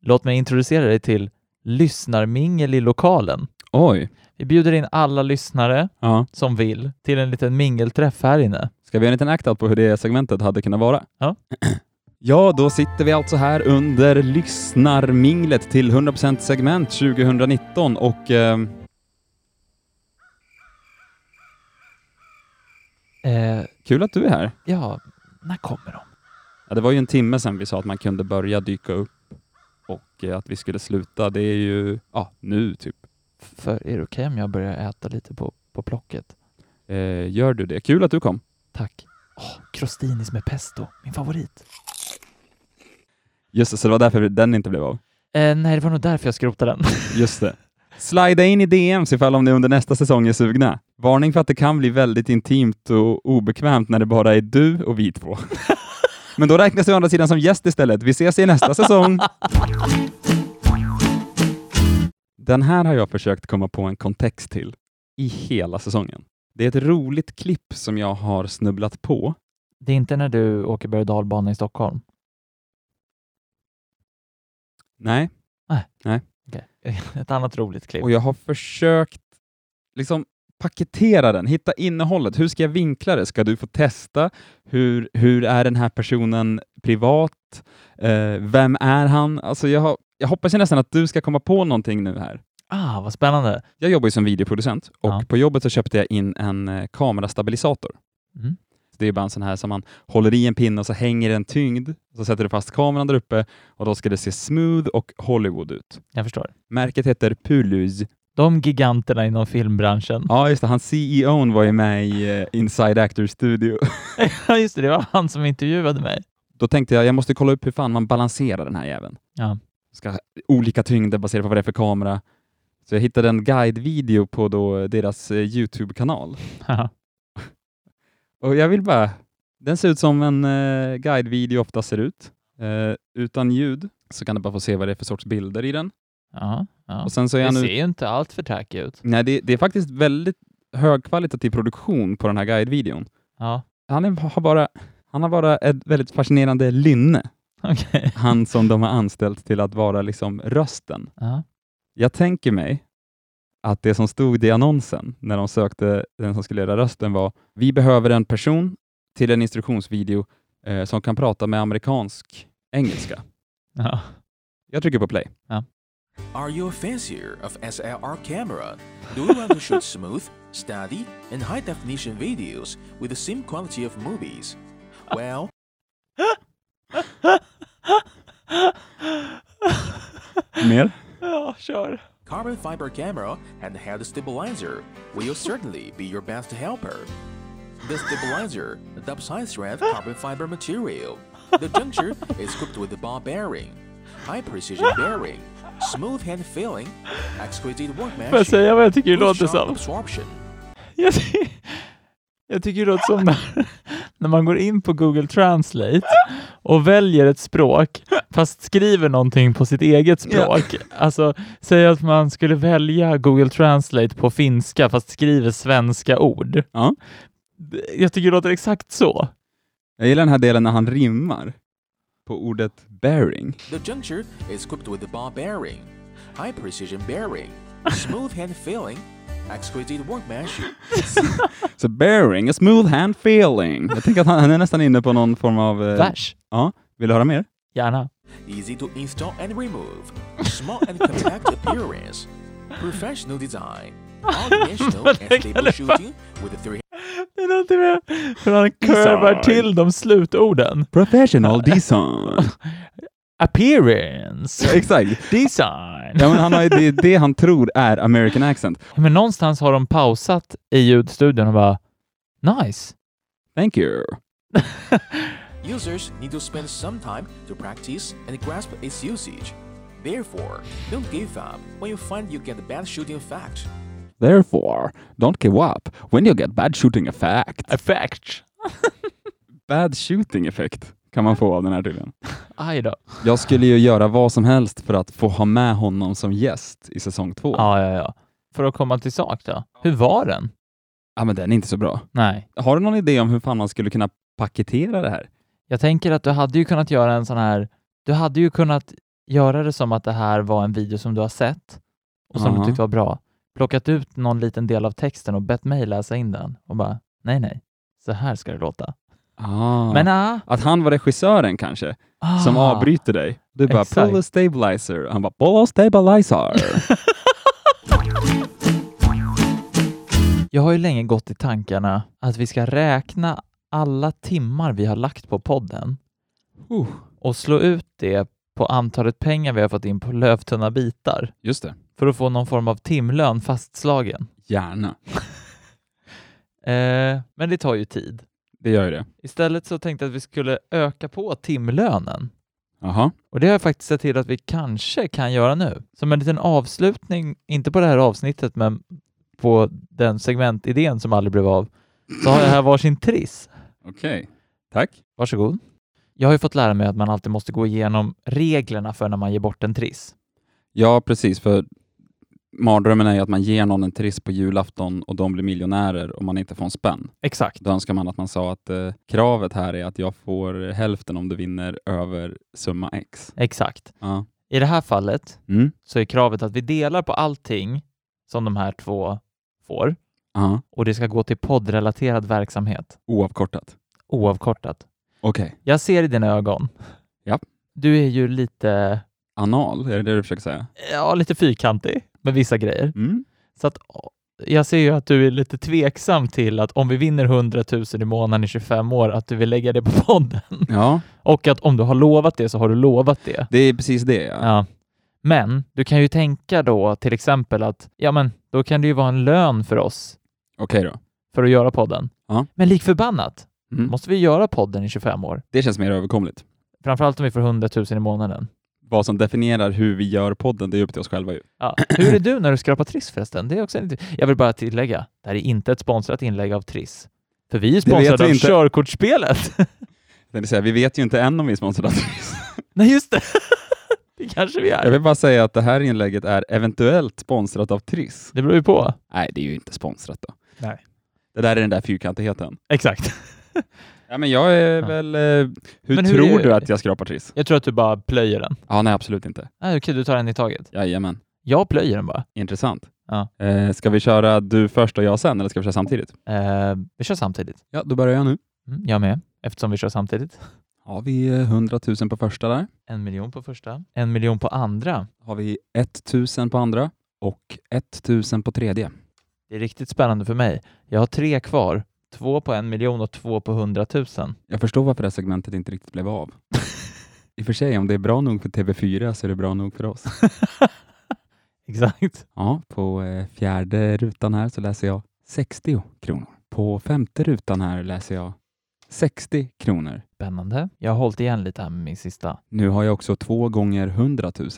Låt mig introducera dig till lyssnarmingel i lokalen.
Oj.
Vi bjuder in alla lyssnare
Ja.
som vill till en liten mingelträff här inne.
Ska vi göra en liten act-out på hur det segmentet hade kunnat vara?
Ja.
Ja, då sitter vi alltså här under lyssnarminglet till 100% segment 2019 och ehm,
Eh,
kul att du är här.
ja, när kommer de?
Ja, det var ju en timme sedan vi sa att man kunde börja dyka upp. och eh, att vi skulle sluta, det är ju ja, nu typ.
För är det okej om jag börjar äta lite på, på plocket?
Eh, gör du det? Kul att du kom.
Tack. Åh, crostinis med pesto, min favorit.
Just det, så det var därför den inte blev av.
Eh, nej, det var nog därför jag skrotade den.
Just det. Slida in i DMs ifall om ni under nästa säsong är sugna. Varning för att det kan bli väldigt intimt och obekvämt när det bara är du och vi två. Men då räknas du å andra sidan som gäst istället. Vi ses i nästa säsong! Den här har jag försökt komma på en kontext till i hela säsongen. Det är ett roligt klipp som jag har snubblat på.
Det är inte när du åker berg och dalbana i Stockholm?
Nej,
Okej. Ett annat roligt klipp.
Typ. och jag har försökt liksom paketera den, hitta innehållet. Hur ska jag vinkla det? Ska du få testa? Hur, hur är den här personen privat? Eh, vem är han? Alltså jag, har, jag hoppas ju nästan att du ska komma på någonting nu här.
Ah, vad spännande.
Jag jobbar ju som videoproducent och
Ja.
på jobbet så köpte jag in en eh, kamerastabilisator.
Mm.
Det är bara en sån här som man håller i en pinne och så hänger en tyngd. Så sätter du fast kameran där uppe och då ska det se smooth och Hollywood ut.
Jag förstår.
Märket heter Pulus.
De giganterna inom filmbranschen.
Ja, just det. Han CEOn var ju med i eh, Inside Actors Studio.
Ja, just det. Det var han som intervjuade mig.
Då tänkte jag, jag måste kolla upp hur fan man balanserar den här jäveln.
Ja.
Ska olika tyngder baserat på vad det är för kamera. Så jag hittade en guidevideo på då deras eh, YouTube-kanal.
Haha.
Och jag vill bara... Den ser ut som en eh, guidevideo ofta ser ut. Eh, utan ljud så kan du bara få se vad det är för sorts bilder i den.
ja, ja.
Och sen så är
det
han
ser
ut-
ju inte allt för tack ut.
Nej, det, det är faktiskt väldigt högkvalitativ produktion på den här guidevideon.
Ja,
Han, är, har bara, han har bara ett väldigt fascinerande lynne.
okej.
Han som de har anställt till att vara liksom rösten.
Ja.
Jag tänker mig att det som stod i annonsen när de sökte den som skulle göra rösten var vi behöver en person till en instruktionsvideo eh, som kan prata med amerikansk engelska.
Ja.
Jag trycker på play.
Are you a fancier of SLR camera? Do you want to shoot smooth, steady, and high definition videos with the same quality of movies? Well,
Mer?
ja, kör.
carbon fiber camera and head stabilizer will certainly be your best helper. The stabilizer adopts high strength carbon fiber material. The juncture is equipped with a ball bearing, high precision bearing, smooth hand feeling, exquisite
Får jag
workmanship,
säga vad jag tycker det
good
låter
shock
som?
absorption.
Jag, ty- jag tycker det låter som när, när man går in på Google Translate och väljer ett språk fast skriver någonting på sitt eget språk. Alltså, säg att man skulle välja Google Translate på finska fast skriver svenska ord.
Ja.
Jag tycker det låter exakt så.
Jag gillar den här delen när han rimmar på ordet bearing.
The juncture is equipped with a ball bearing, high precision bearing, smooth hand feeling, exquisite workmanship.
Så bearing, a smooth hand feeling. Jag tänker att han, han är nästan inne på någon form av... eh,
Vers.
Ja, vill du höra mer?
Gärna.
Easy to install and remove, small and compact appearance, professional design, all-dimensional
Vad
and stable
det fan?
shooting with a three.
Det låter med hur han curvar till de slutorden.
Professional design.
Appearance.
Exakt.
Design.
Ja, men han har, ju- det är det han tror är American accent.
Men någonstans har de pausat i ljudstudion och bara nice.
Thank you.
Users need to spend some time to practice and grasp its usage. Therefore, don't give up when you find you get the bad shooting effect.
Therefore, don't give up when you get bad shooting effect.
Effect.
Bad shooting effect kan man få av den här tydligen.
Aj då.
Jag skulle ju göra vad som helst för att få ha med honom som gäst i säsong två.
Ja, ja, ja. För att komma till sak då. Hur var den?
Ja, men den är inte så bra.
Nej.
Har du någon idé om hur fan man skulle kunna paketera det här?
Jag tänker att du hade ju kunnat göra en sån här... Du hade ju kunnat göra det som att det här var en video som du har sett och som
Ja.
du tyckte var bra. Plockat ut någon liten del av texten och bett mig läsa in den och bara nej, nej. Så här ska det låta.
Ah.
Men ah,
att han var regissören kanske,
ah.
som avbryter dig. Du bara
Exakt.
“pull a stabilizer” och han bara “pull a stabilizer”.
Jag har ju länge gått i tankarna att vi ska räkna alla timmar vi har lagt på podden
Uh.
och slå ut det på antalet pengar vi har fått in på lövtunna bitar.
Just det.
För att få någon form av timlön fastslagen.
Gärna.
Eh, men det tar ju tid.
Det gör ju det.
Istället så tänkte jag att vi skulle öka på timlönen.
Jaha.
Och det har jag faktiskt sett till att vi kanske kan göra nu. Som en liten avslutning, inte på det här avsnittet, men på den segmentidén som aldrig blev av, så har jag här varsin triss.
Okej. Tack.
Varsågod. Jag har ju fått lära mig att man alltid måste gå igenom reglerna för när man ger bort en triss.
Ja, precis. För mardrömmen är ju att man ger någon en triss på julafton och de blir miljonärer och man inte får en spänn.
Exakt.
Då önskar man att man sa att eh, kravet här är att jag får hälften om du vinner över summa X.
Exakt.
Ja.
I det här fallet
Mm.
så är kravet att vi delar på allting som de här två får
Ja.
och det ska gå till poddrelaterad verksamhet
Oavkortat.
oavkortat.
Okej.
Jag ser i dina ögon.
Ja.
Du är ju lite,
Anal, är det det du försöker säga?
ja, lite fyrkantig med vissa grejer.
Mm.
Så att jag ser ju att du är lite tveksam till att om vi vinner 100 000 i månaden i 25 år, att du vill lägga det på podden.
Ja,
Och att om du har lovat det så har du lovat det.
det är precis det. Ja.
Ja. Men du kan ju tänka då till exempel att ja, men då kan det ju vara en lön för oss
Okej då.
för att göra podden.
Ja.
Men lik förbannat
Mm.
måste vi göra podden i 25 år.
Det känns mer överkomligt.
Framförallt om vi får 100 000 i månaden.
Vad som definierar hur vi gör podden, det är upp till oss själva ju.
Ja. Hur är du när du skrapar Triss förresten? Det är också en... Jag vill bara tillägga, det här är inte ett sponsrat inlägg av Triss. För vi är
Det vet
sponsrade
vi
av
inte.
körkortsspelet.
Det vill säga, vi vet ju inte än om vi är sponsrade av Triss.
Nej, just det. det kanske vi
Jag
är.
vill bara säga att det här inlägget är eventuellt sponsrat av Triss.
Det beror ju på.
Nej, det är ju inte sponsrat då.
Nej.
Det där är den där fyrkantigheten.
Exakt.
Ja, men jag är
Ja.
väl... eh, Hur,
Men hur
tror
är-
du att jag skrapar Triss?
Jag tror att du bara plöjer den.
Ja, nej, absolut inte.
Ah, Okej, du tar en i taget.
Jajamän.
Jag plöjer den bara.
Intressant.
Ja.
Eh, ska vi köra du först och jag sen, eller ska vi köra samtidigt?
Eh, vi kör samtidigt.
Ja, då börjar jag nu.
Mm, jag med, eftersom vi kör samtidigt.
Har vi eh, 100 000 på första där?
En miljon på första, en miljon på andra.
Har vi 1 000 på andra och 1 000 på tredje.
Det är riktigt spännande för mig. Jag har tre kvar. Två på en miljon och två på hundratusen.
Jag förstår varför det här segmentet inte riktigt blev av. I och för sig, om det är bra nog för TV4 så är det bra nog för oss.
Exakt.
Ja, på eh, fjärde rutan här så läser jag 60 kronor. På femte rutan här läser jag 60 kronor.
Spännande. Jag har hållit igen lite här med min sista.
Nu har jag också två gånger 100 000.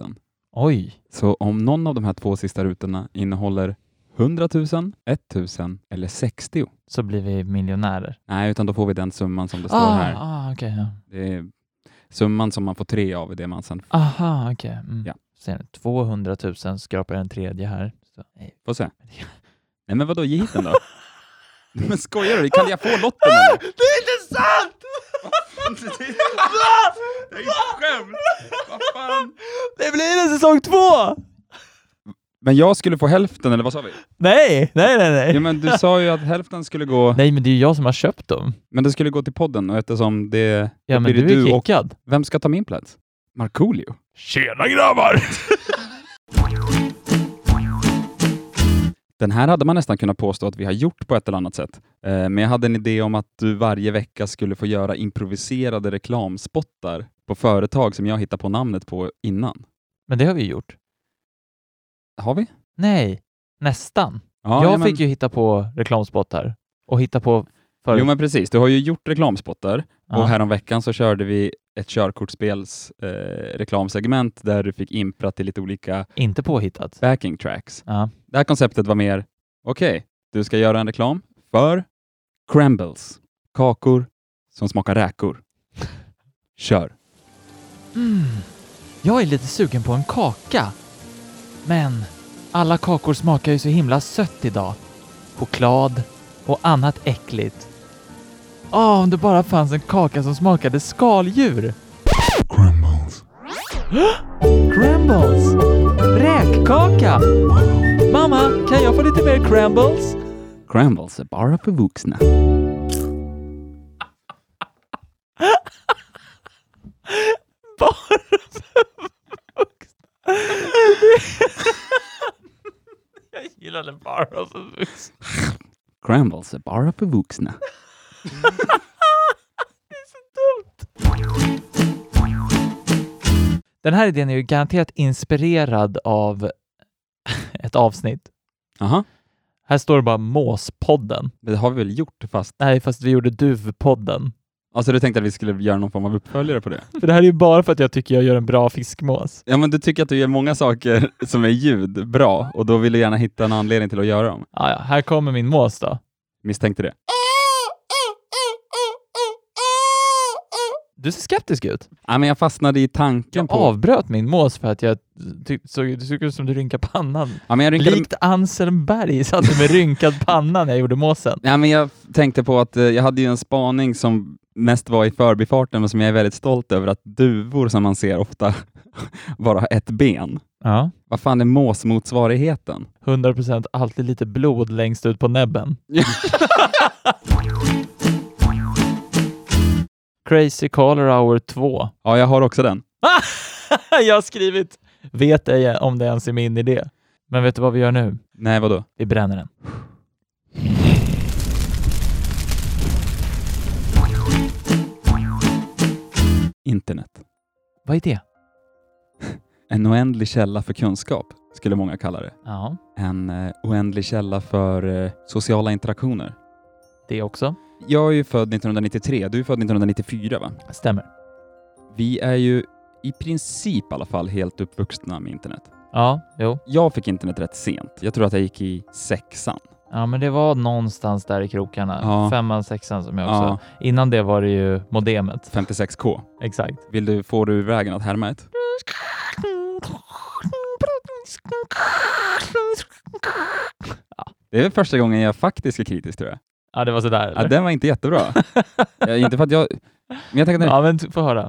Oj,
Så om någon av de här två sista rutorna innehåller 100 000, 1 000 eller 60
så blir vi miljonärer.
Nej, utan då får vi den summan som det står
ah,
här.
Ah, okej. ja.
Det är summan som man får tre av i det man sen
Aha, okej. Mm.
Ja.
Sen 200 000 skrapar jag en tredje här. Så, nej.
får se. Nej men vadå, ge hit den då. men skojar du? Kan jag få lotten eller?
Det är inte sant!
Det är ett skämt! Vad fan?
Det blir en säsong två!
Men jag skulle få hälften eller vad sa vi?
Nej, nej, nej, nej.
Ja, men du sa ju att hälften skulle gå,
Nej, men det är ju jag som har köpt dem.
men det skulle gå till podden och eftersom det...
Ja,
då
men
blir
du,
det du
är
och...
kickad.
Vem ska ta min plats? Markoolio?
Tjena grabbar!
Den här hade man nästan kunnat påstå att vi har gjort på ett eller annat sätt. Eh, Men jag hade en idé om att du varje vecka skulle få göra improviserade reklamspottar på företag som jag hittar på namnet på innan.
Men det har vi ju gjort.
Har vi?
Nej, nästan.
Ja,
jag
ja, men-
fick ju hitta på reklamspottar och hitta på för...
Jo men precis, du har ju gjort reklamspottar
Ja.
och häromveckan så körde vi ett körkortsspels eh, reklamsegment där du fick impra till lite olika
Inte påhittat.
backing tracks.
Ja.
Det här konceptet var mer, okej, du ska göra en reklam för crumbles, kakor som smakar räkor. Kör!
Jag är lite sugen på en kaka. Men alla kakor smakar ju så himla sött idag. Choklad och annat äckligt. Åh, om det bara fanns en kaka som smakade skaldjur.
Crumbles.
Crumbles! Räkkaka! Mamma, kan jag få lite mer crumbles?
Crumbles är bara för vuxna.
Bara för vuxna. Jag gillade bara för vuxna.
Crumbles är bara för vuxna.
Det är så dumt. Den här idén är ju garanterat inspirerad av ett avsnitt.
Aha.
Här står det bara Måspodden.
Det har vi väl gjort fast...
Nej, fast vi gjorde Duvpodden.
Alltså du tänkte att vi skulle göra någon form av uppföljare på det?
För det här är ju bara för att jag tycker jag gör en bra fiskmås.
Ja, men du tycker att du gör många saker som är ljud bra och då vill du gärna hitta en anledning till att göra dem.
Ah, ja. Här kommer min mås då.
Misstänkte det.
Du ser skeptisk ut.
Ja, men jag fastnade i tanken på...
Avbröt min mås för att jag ty- såg, det såg ut som du rynkade pannan.
Ja, men jag rynkade...
Likt Anselm Berg satt du med rynkad panna när jag gjorde måsen.
Ja, men jag tänkte på att eh, jag hade ju en spaning som mest var i förbifarten, men som jag är väldigt stolt över, att duvor som man ser ofta bara har ett ben.
Ja.
Vad fan är måsmotsvarigheten?
100% alltid lite blod längst ut på näbben. Crazy Caller Hour 2.
Ja, jag har också den.
jag har skrivit ”Vet ej om det ens är min idé”. Men vet du vad vi gör nu?
Nej, vadå?
Vi bränner den.
Internet.
Vad är det?
En oändlig källa för kunskap, skulle många kalla det.
Ja,
En eh, oändlig källa för eh, sociala interaktioner.
det också.
Jag är ju född 1993, du är född 1994 va?
Stämmer.
Vi är ju i princip i alla fall helt uppvuxna med internet.
Ja, jo.
Jag fick internet rätt sent. Jag tror att jag gick i sexan.
Ja, men det var någonstans där i krokarna.
Ja.
Femman, sexan som jag också...
Ja,
Innan det var det ju modemet.
56k.
Exakt.
Vill du, får du ur vägen att härma ett? Det är väl första gången jag faktiskt är kritisk tror jag.
Ja, det var sådär.
Ja,
Eller?
den var inte jättebra. jag, inte för att jag... Men jag tänker att den
Ja, men t- få höra.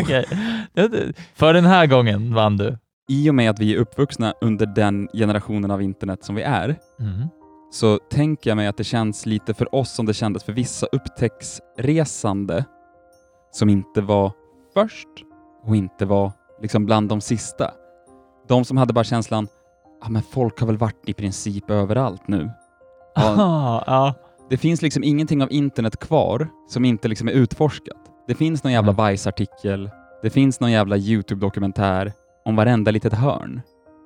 Okej. Det- det- För den här gången vann du.
I och med att vi är uppvuxna under den generationen av internet som vi är,
Mm.
så tänker jag mig att det känns lite för oss som det kändes för vissa upptäcktsresande som inte var först och inte var liksom bland de sista. De som hade bara känslan, ja ah, men folk har väl varit i princip överallt nu. Ja,
Aha, ja.
det finns liksom ingenting av internet kvar som inte liksom är utforskat. Det finns någon jävla Vice-artikel, det finns någon jävla YouTube-dokumentär om varenda litet hörn.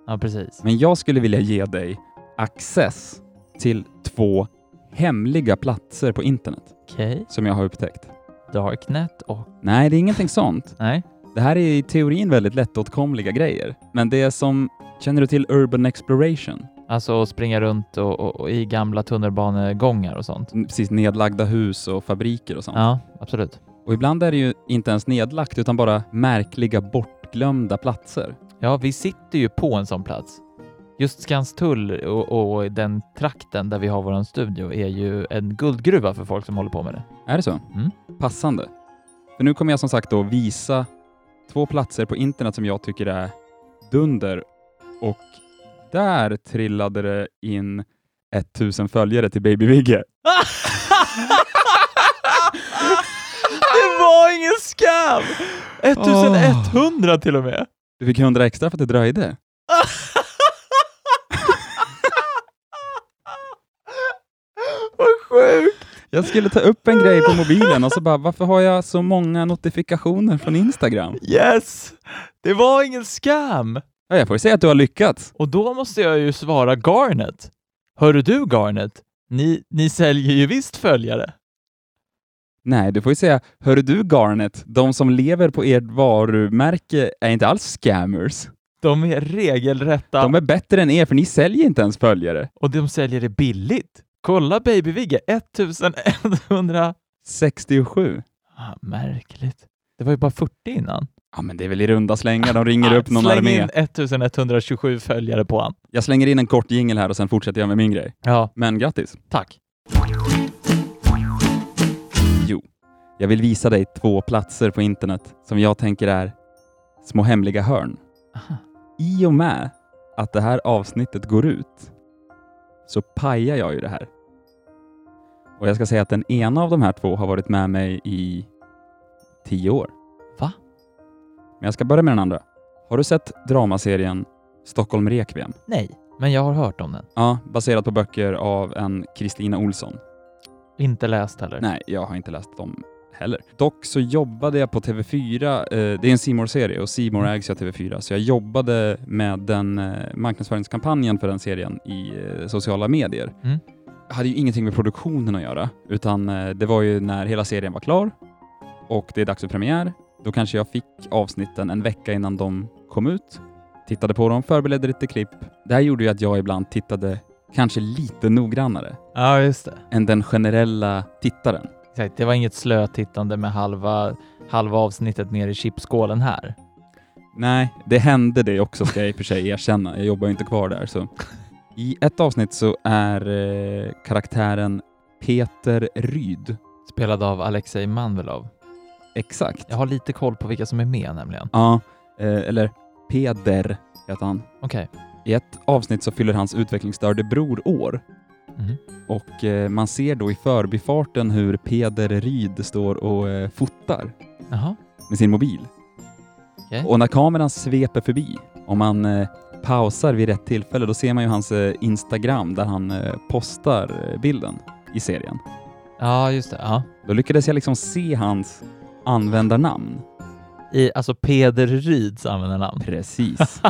ja, precis.
Men jag skulle vilja ge dig access till två hemliga platser på internet
Okej.
som jag har upptäckt.
Darknet och...
Nej, det är ingenting sånt.
Nej.
Det här är i teorin väldigt lättåtkomliga grejer, men det är som... Känner du till Urban Exploration?
Alltså att springa runt och, och, och i gamla tunnelbanegångar och sånt.
N- Precis, nedlagda hus och fabriker och sånt.
Ja, absolut.
Och ibland är det ju inte ens nedlagt, utan bara märkliga bortglömda platser.
Ja, vi sitter ju på en sån plats. Just Skanstull och, och den trakten där vi har vår studio är ju en guldgruva för folk som håller på med det.
Är det så?
Mm.
Passande. För nu kommer jag som sagt då visa två platser på internet som jag tycker är dunder och där trillade det in 1000 följare till Baby Vigge.
Det var ingen skam!
1100
till och med.
Ah. Du fick 100 extra för att det dröjde.
Vad sjukt!
Jag skulle ta upp en grej på mobilen och så bara, varför har jag så många notifikationer från Instagram?
Yes! Det var ingen skam!
Ja, jag får ju säga att du har lyckats.
Och då måste jag ju svara Garnet. Hörru du Garnet, ni, ni säljer ju visst följare.
Nej, du får ju säga, hörru du Garnet, de som lever på ert varumärke är inte alls scammers.
De är regelrätta
De är bättre än er, för ni säljer inte ens följare.
och de säljer det billigt. Kolla Babyvigge, 1100...
67.
Ah, märkligt. Det var ju bara 40 innan.
Ja, men det är väl i runda slängar. De ringer upp någon
Släng
armé.
in 1127 följare på han.
Jag slänger in en kort jingle här och sen fortsätter jag med min grej.
Ja,
Men grattis.
tack.
Jo, jag vill visa dig två platser på internet som jag tänker är små hemliga hörn.
Aha.
I och med att det här avsnittet går ut så pajar jag ju det här. Och jag ska säga att den ena av de här två har varit med mig i tio år.
Va?
Men jag ska börja med den andra. Har du sett dramaserien Stockholm Requiem?
Nej, men jag har hört om den.
Ja, baserat på böcker av en Kristina Olsson.
Inte läst heller.
Nej, jag har inte läst dem heller. Dock så jobbade jag på TV4, eh, det är en C serie och C More ägs ju av TV4, så jag jobbade med den eh, marknadsföringskampanjen för den serien i eh, sociala medier.
Mm.
hade ju ingenting med produktionen att göra, utan eh, det var ju när hela serien var klar och det är dags för premiär. Då kanske jag fick avsnitten en vecka innan de kom ut, tittade på dem, förberedde lite klipp. Det här gjorde ju att jag ibland tittade kanske lite noggrannare
Ja, just det.
än den generella tittaren.
Exakt. Det var inget slötittande med halva, halva avsnittet ner i chipskålen här.
Nej, det hände det också ska jag i och för sig erkänna. Jag jobbar ju inte kvar där. Så. I ett avsnitt så är eh, karaktären Peter Ryd.
Spelad av Alexej Manvelov.
Exakt.
Jag har lite koll på vilka som är med nämligen.
Ja, eh, eller Peder heter han.
Okej.
I ett avsnitt så fyller hans utvecklingsstörde bror år
Mhm.
och eh, man ser då i förbifarten hur Peder Ryd står och eh, fotar
Jaha.
med sin mobil.
Okej.
Och när kameran sveper förbi, om man eh, pausar vid rätt tillfälle, då ser man ju hans eh, Instagram där han eh, postar eh, bilden i serien.
Ja, just det. Ja.
Då lyckades jag liksom se hans användarnamn.
I, alltså Peder Ryds användarnamn.
Precis.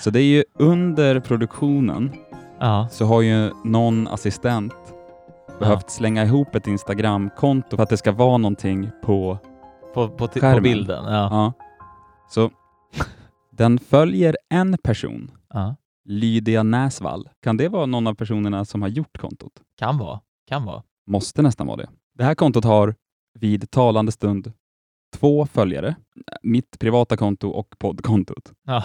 Så det är ju under produktionen
Ja.
så har ju någon assistent behövt slänga ihop ett Instagramkonto för att det ska vara någonting på
På, på, ti- på
Skärmen.
bilden. Ja.
Ja. Så den följer en person,
Ja.
Lydia Näsvall. Kan det vara någon av personerna som har gjort kontot?
Kan vara. Kan vara.
Måste nästan vara det. Det här kontot har vid talande stund två följare. Mitt privata konto och poddkontot.
Ja.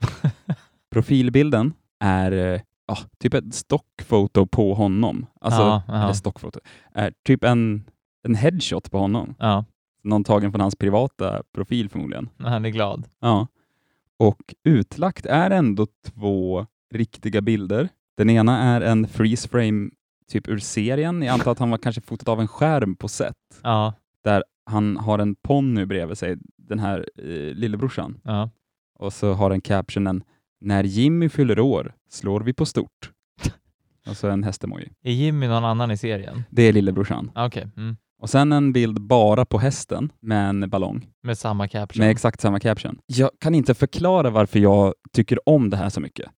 Profilbilden är eh, ja, typ ett stockfoto på honom. Alltså,
Ja, ja.
Eller stockfoto. Är typ en, en headshot på honom.
ja.
Någon tagen från hans privata profil förmodligen.
Han är glad.
Ja. Och utlagt är ändå två riktiga bilder. Den ena är en freeze frame typ ur serien. Jag antar att han var kanske fotad av en skärm på set.
Ja.
Där han har en ponny bredvid sig, den här eh, lillebrorsan.
Ja.
Och så har den captionen ”När Jimmy fyller år slår vi på stort”. Och så en hästemoji.
Är Jimmy någon annan i serien?
Det är lillebrorsan.
Ah, Okej. Mm.
Och sen en bild bara på hästen med en ballong.
Med samma caption.
Med exakt samma caption. Jag kan inte förklara varför jag tycker om det här så mycket.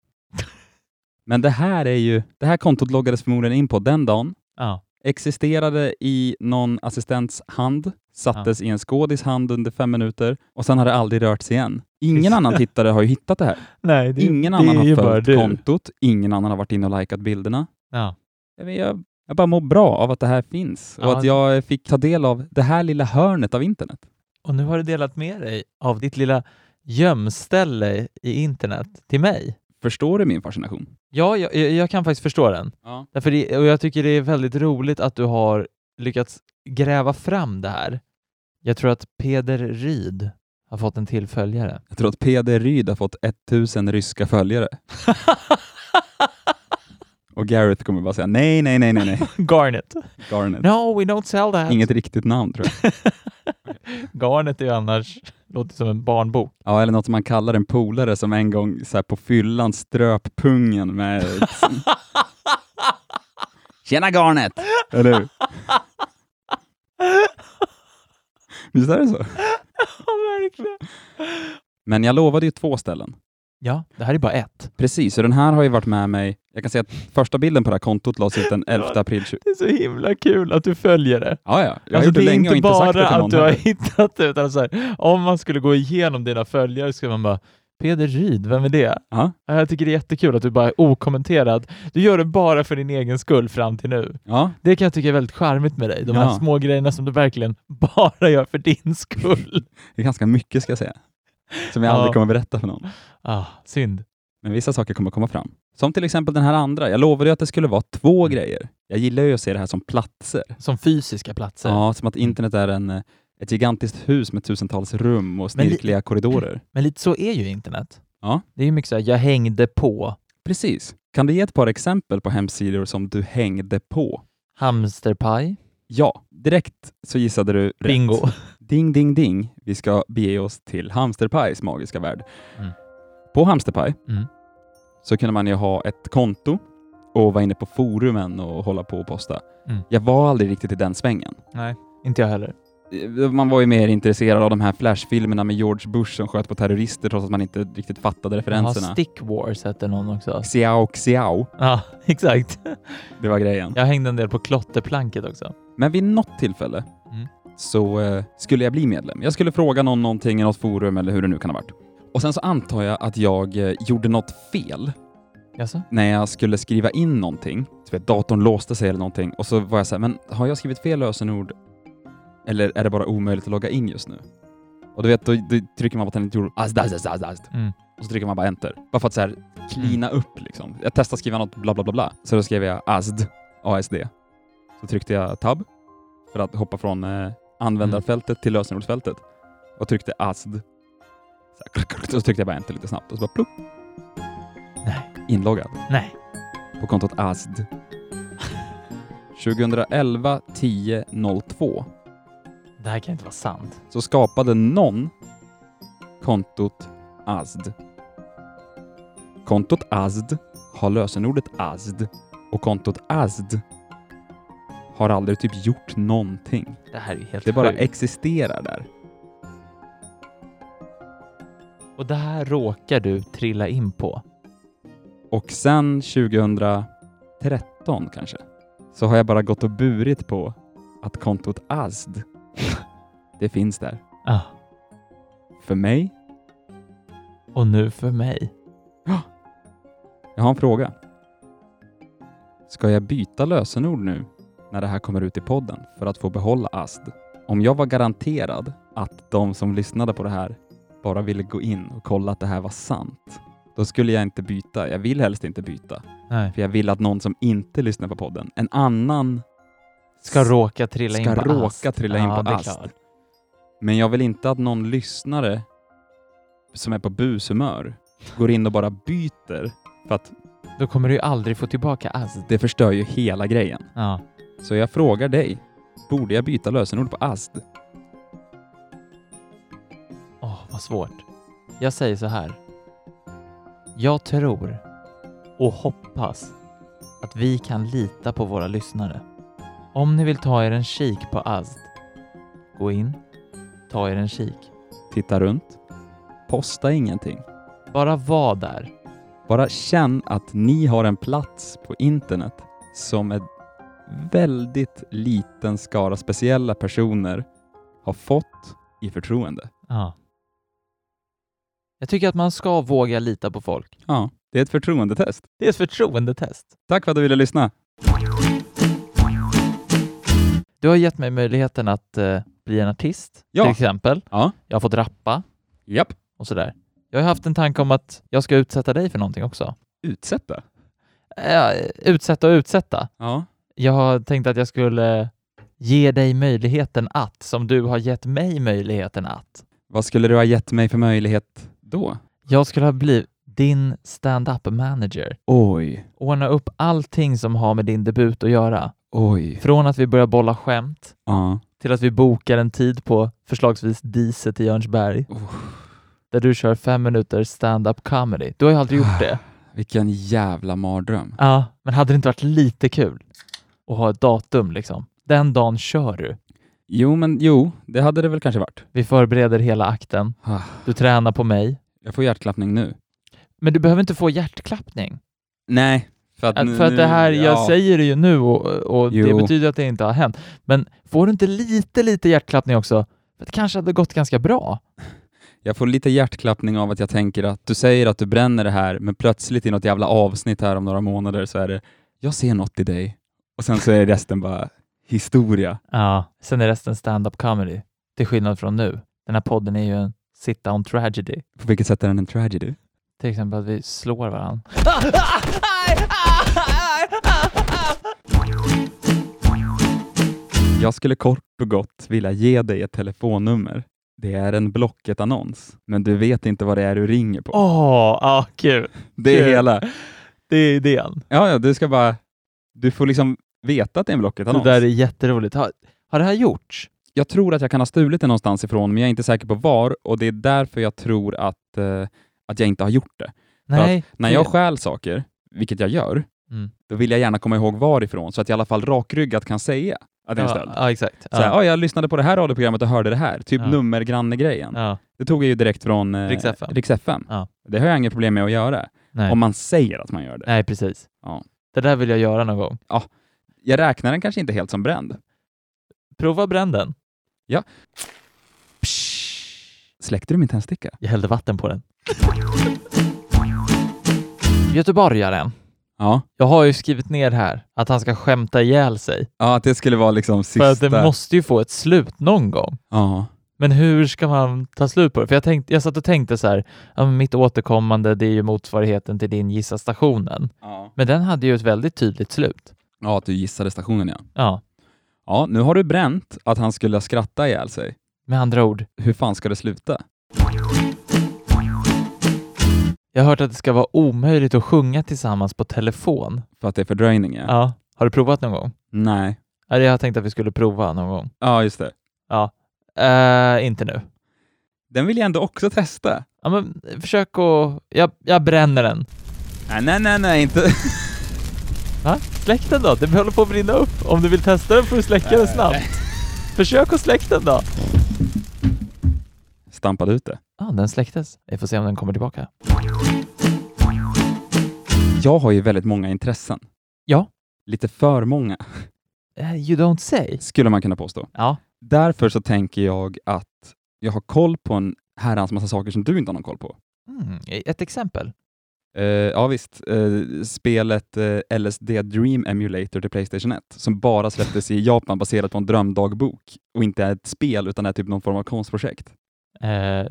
Men det här är ju, det här kontot loggades förmodligen in på den dagen,
Ja.
existerade i någon assistents hand, sattes i en skådis hand under fem minuter och sen har det aldrig rört sig igen. Ingen annan tittare har ju hittat det här.
Nej, det,
Ingen
det
annan
är ju
har
bara
följt
du.
kontot, ingen annan har varit inne och likat bilderna.
Ja.
Jag, vet, jag, jag bara mår bra av att det här finns och
Ja.
att jag fick ta del av det här lilla hörnet av internet.
Och nu har du delat med dig av ditt lilla gömställe i internet till mig.
Förstår du min fascination?
Ja, jag, jag- jag kan faktiskt förstå den.
Ja.
Därför det, och jag tycker det är väldigt roligt att du har lyckats gräva fram det här. Jag tror att Peder Ryd har fått en till följare.
Jag tror att Peder Ryd har fått 1000 ryska följare. Och Gareth kommer bara säga nej, nej, nej, nej, nej.
Garnet.
Garnet.
No, we don't sell that.
Inget riktigt namn tror jag.
Garnet är ju annars, låter som en barnbok.
Ja, eller något som man kallar en polare som en gång så här, på fyllan ströp pungen med... Tjena Garnet! Eller hur? Visst är det så?
Ja, verkligen.
Men jag lovade ju två ställen.
Ja, det här är bara ett.
Precis, så den här har ju varit med mig. Jag kan säga att första bilden på det här kontot lades ut den 11 april 20...
Det är så himla kul att du följer det.
Ja, ja. Jag har
Alltså,
gjort det
det är
länge och
inte
inte sagt
bara
det till
att
någon
du har
heller.
hittat det, utan så här, om man skulle gå igenom dina följare skulle man bara Peder Ryd, vem är det?
Ja.
Jag tycker det är jättekul att du bara är okommenterad. Du gör det bara för din egen skull fram till nu.
Ja,
Det kan jag tycka är väldigt charmigt med dig. De här
Ja.
små grejerna som du verkligen bara gör för din skull.
Det är ganska mycket ska jag säga. Som jag
Ja.
aldrig kommer berätta för någon.
Ah, synd.
Men vissa saker kommer komma fram. Som till exempel den här andra. Jag lovade ju att det skulle vara två grejer. Jag gillar ju att se det här som platser.
Som fysiska platser.
Ja, som att internet är en, eh, ett gigantiskt hus med tusentals rum och
Men li-
snirkliga korridorer.
Men lite så är ju internet.
Ja.
Det är ju mycket så här, jag hängde på
Precis. Kan du ge ett par exempel på hemsidor som du hängde på?
hamsterpaj,
Ja, direkt så gissade du rätt.
bingo.
Ding, ding, ding. Vi ska bege oss till Hamsterpajs magiska värld.
Mm.
På Hamsterpaj
Mm.
så kunde man ju ha ett konto och vara inne på forumen och hålla på och posta.
Mm.
Jag var aldrig riktigt i den svängen.
Nej, inte jag heller.
Eh, Man var ju mer intresserad av de här flashfilmerna med George Bush som sköt på terrorister trots att man inte riktigt fattade referenserna.
Ja, Stick Wars hette någon också.
Xiao Xiao,
Ja, exakt.
det var grejen.
Jag hängde en del på klotterplanket också.
Men vid något tillfälle
Mm.
så eh, skulle jag bli medlem. Jag skulle fråga någon någonting i något forum eller hur det nu kan ha varit. Och sen så antar jag att jag eh, gjorde något fel
Jaså?
när jag skulle skriva in någonting. Du vet, datorn låste sig eller någonting och så var jag så här, men har jag skrivit fel lösenord? Eller är det bara omöjligt att logga in just nu? Och du vet, då, då trycker man på tangentbordet, azd, azd, azd, azd, azd.
Mm.
och så trycker man bara enter. Bara för att så här klina upp liksom. Jag testade skriva något bla bla bla bla, så då skrev jag azd, ASD. Så tryckte jag tab för att hoppa från eh, användarfältet till lösenordsfältet och tryckte azd. Så, här, klick, klick, klick, och så tryckte jag bara enter lite snabbt och så bara plupp. Inloggad
Nej.
på kontot ASD. 2011 10 02
Det här kan inte vara sant.
så skapade någon kontot ASD. Kontot ASD har lösenordet ASD och kontot ASD har aldrig typ gjort någonting.
Det här är ju helt
Det bara
sjukt.
existerar där.
Och det här råkar du trilla in på.
Och sen 2013 kanske, så har jag bara gått och burit på att kontot ASD, det finns där.
Ah.
För mig
Och nu för mig.
Jag har en fråga. Ska jag byta lösenord nu när det här kommer ut i podden för att få behålla ASD? Om jag var garanterad att de som lyssnade på det här bara ville gå in och kolla att det här var sant, då skulle jag inte byta. Jag vill helst inte byta,
Nej.
för jag vill att någon som inte lyssnar på podden, en annan,
Ska råka trilla in
ska
på
råka
ast.
trilla in
ja,
på
det är
ast.
klart.
Men jag vill inte att någon lyssnare som är på bushumör går in och bara byter, för att
Då kommer du ju aldrig få tillbaka ast.
det förstör ju hela grejen.
Ja.
Så jag frågar dig, borde jag byta lösenord på ASD?
Åh, vad svårt. Jag säger så här. Jag tror och hoppas att vi kan lita på våra lyssnare. Om ni vill ta er en kik på Azd, gå in, ta er en kik.
Titta runt. Posta ingenting.
Bara var där.
Bara känn att ni har en plats på internet som en väldigt liten skara speciella personer har fått i förtroende.
Ja. Jag tycker att man ska våga lita på folk.
Ja, det är ett förtroendetest.
Det är ett förtroendetest.
Tack för att du ville lyssna.
Du har gett mig möjligheten att eh, bli en artist,
Ja.
till exempel.
Ja.
Jag har fått rappa
Japp.
och sådär. Jag har haft en tanke om att jag ska utsätta dig för någonting också.
Utsätta.
Eh, utsätta och utsätta.
Ja.
Jag tänkte att jag skulle ge dig möjligheten att, som du har gett mig möjligheten att.
Vad skulle du ha gett mig för möjlighet då?
Jag skulle ha blivit din stand-up manager.
Oj,
Ordna upp allting som har med din debut att göra.
oj.
Från att vi börjar bolla skämt
Ja.
till att vi bokar en tid på förslagsvis Diset i Jörnsberg där du kör fem minuter stand-up comedy. Du har ju aldrig gjort det.
Vilken jävla mardröm.
Ja, men hade det inte varit lite kul att ha ett datum liksom? Den dagen kör du.
Jo, men jo, det hade det väl kanske varit.
Vi förbereder hela akten.
Ah.
Du tränar på mig.
Jag får hjärtklappning nu.
Men du behöver inte få hjärtklappning.
Nej, för att,
Att
nu-
för att det
nu-
här, jag
ja.
säger det ju nu och, och det
Jo.
betyder att det inte har hänt. Men får du inte lite, lite hjärtklappning också? För det kanske hade gått ganska bra.
Jag får lite hjärtklappning av att jag tänker att du säger att du bränner det här, men plötsligt i något jävla avsnitt här om några månader så är det jag ser något i dig. Och sen så är resten bara historia.
Ja. Sen är resten stand-up comedy, till skillnad från nu. Den här podden är ju en sit down tragedy.
På vilket sätt är den en tragedy?
Till exempel att vi slår varandra.
Jag skulle kort och gott vilja ge dig ett telefonnummer. Det är en Blocket-annons, men du vet inte vad det är du ringer på.
Åh, ja kul.
det är
kul.
hela.
Det är idén.
Ja, ja, du ska bara... Du får liksom veta att det är en
Det
Blocket-annons.
där är jätteroligt. Har, har det här gjorts?
jag tror att jag kan ha stulit det någonstans ifrån, men jag är inte säker på var och det är därför jag tror att, eh, att jag inte har gjort det.
Nej.
När jag
det-
stjäl saker, vilket jag gör,
Mm.
då vill jag gärna komma ihåg varifrån, så att jag i alla fall rakryggat kan säga att den är
Ja,
stöld.
ja, exakt.
Så här,
Ja.
"Ja, jag lyssnade på det här radioprogrammet och hörde det här, typ
Ja.
nummergranne-grejen.
Ja.
Det tog jag ju direkt från eh,
Rix FM.
Rix FM.
Ja.
Det har jag inga problem med att göra,
Nej.
om man säger att man gör det.
Nej, precis.
Ja.
Det där vill jag göra någon gång.
Ja. Jag räknar den kanske inte helt som bränd.
Prova bränn den.
Ja. Släckte du min tändsticka?
Jag hällde vatten på den. Göteborgaren.
Ja.
Jag har ju skrivit ner här att han ska skämta ihjäl sig.
Ja, att det skulle vara liksom sista...
För att det måste ju få ett slut någon gång.
Ja.
Men hur ska man ta slut på det? För jag, tänkte, jag satt och tänkte så här, ja, men mitt återkommande det är ju motsvarigheten till din gissa stationen.
Ja.
Men den hade ju ett väldigt tydligt slut.
ja, att du gissade stationen ja.
Ja,
Ja, nu har du bränt att han skulle skratta ihjäl sig.
med andra ord.
Hur fan ska det sluta?
Jag har hört att det ska vara omöjligt att sjunga tillsammans på telefon.
För att det är fördröjning
Ja.
ja.
Har du provat någon gång?
Nej.
Ja, det- Jag tänkte att vi skulle prova någon gång.
Ja, just det.
Ja. Eh, inte nu.
Den vill jag ändå också testa.
Ja, men försök att... Jag, jag bränner den.
Nej, nej, nej, nej inte.
Va? Släck den då, den håller på att brinna upp. Om du vill testa den får du släcka den snabbt. Försök att släcka den då.
Stampade ut det.
Ja, den släcktes. Vi får se om den kommer tillbaka.
Jag har ju väldigt många intressen.
Ja.
Lite för många,
Eh, you don't say.
skulle man kunna påstå.
Ja.
Därför så tänker jag att jag har koll på en herrans massa saker som du inte har någon koll på.
Mm, ett exempel.
Eh, ja visst, Eh, spelet eh, LSD Dream Emulator till Playstation 1 som bara släpptes i Japan baserat på en drömdagbok och inte är ett spel utan är typ någon form av konstprojekt.
Eh,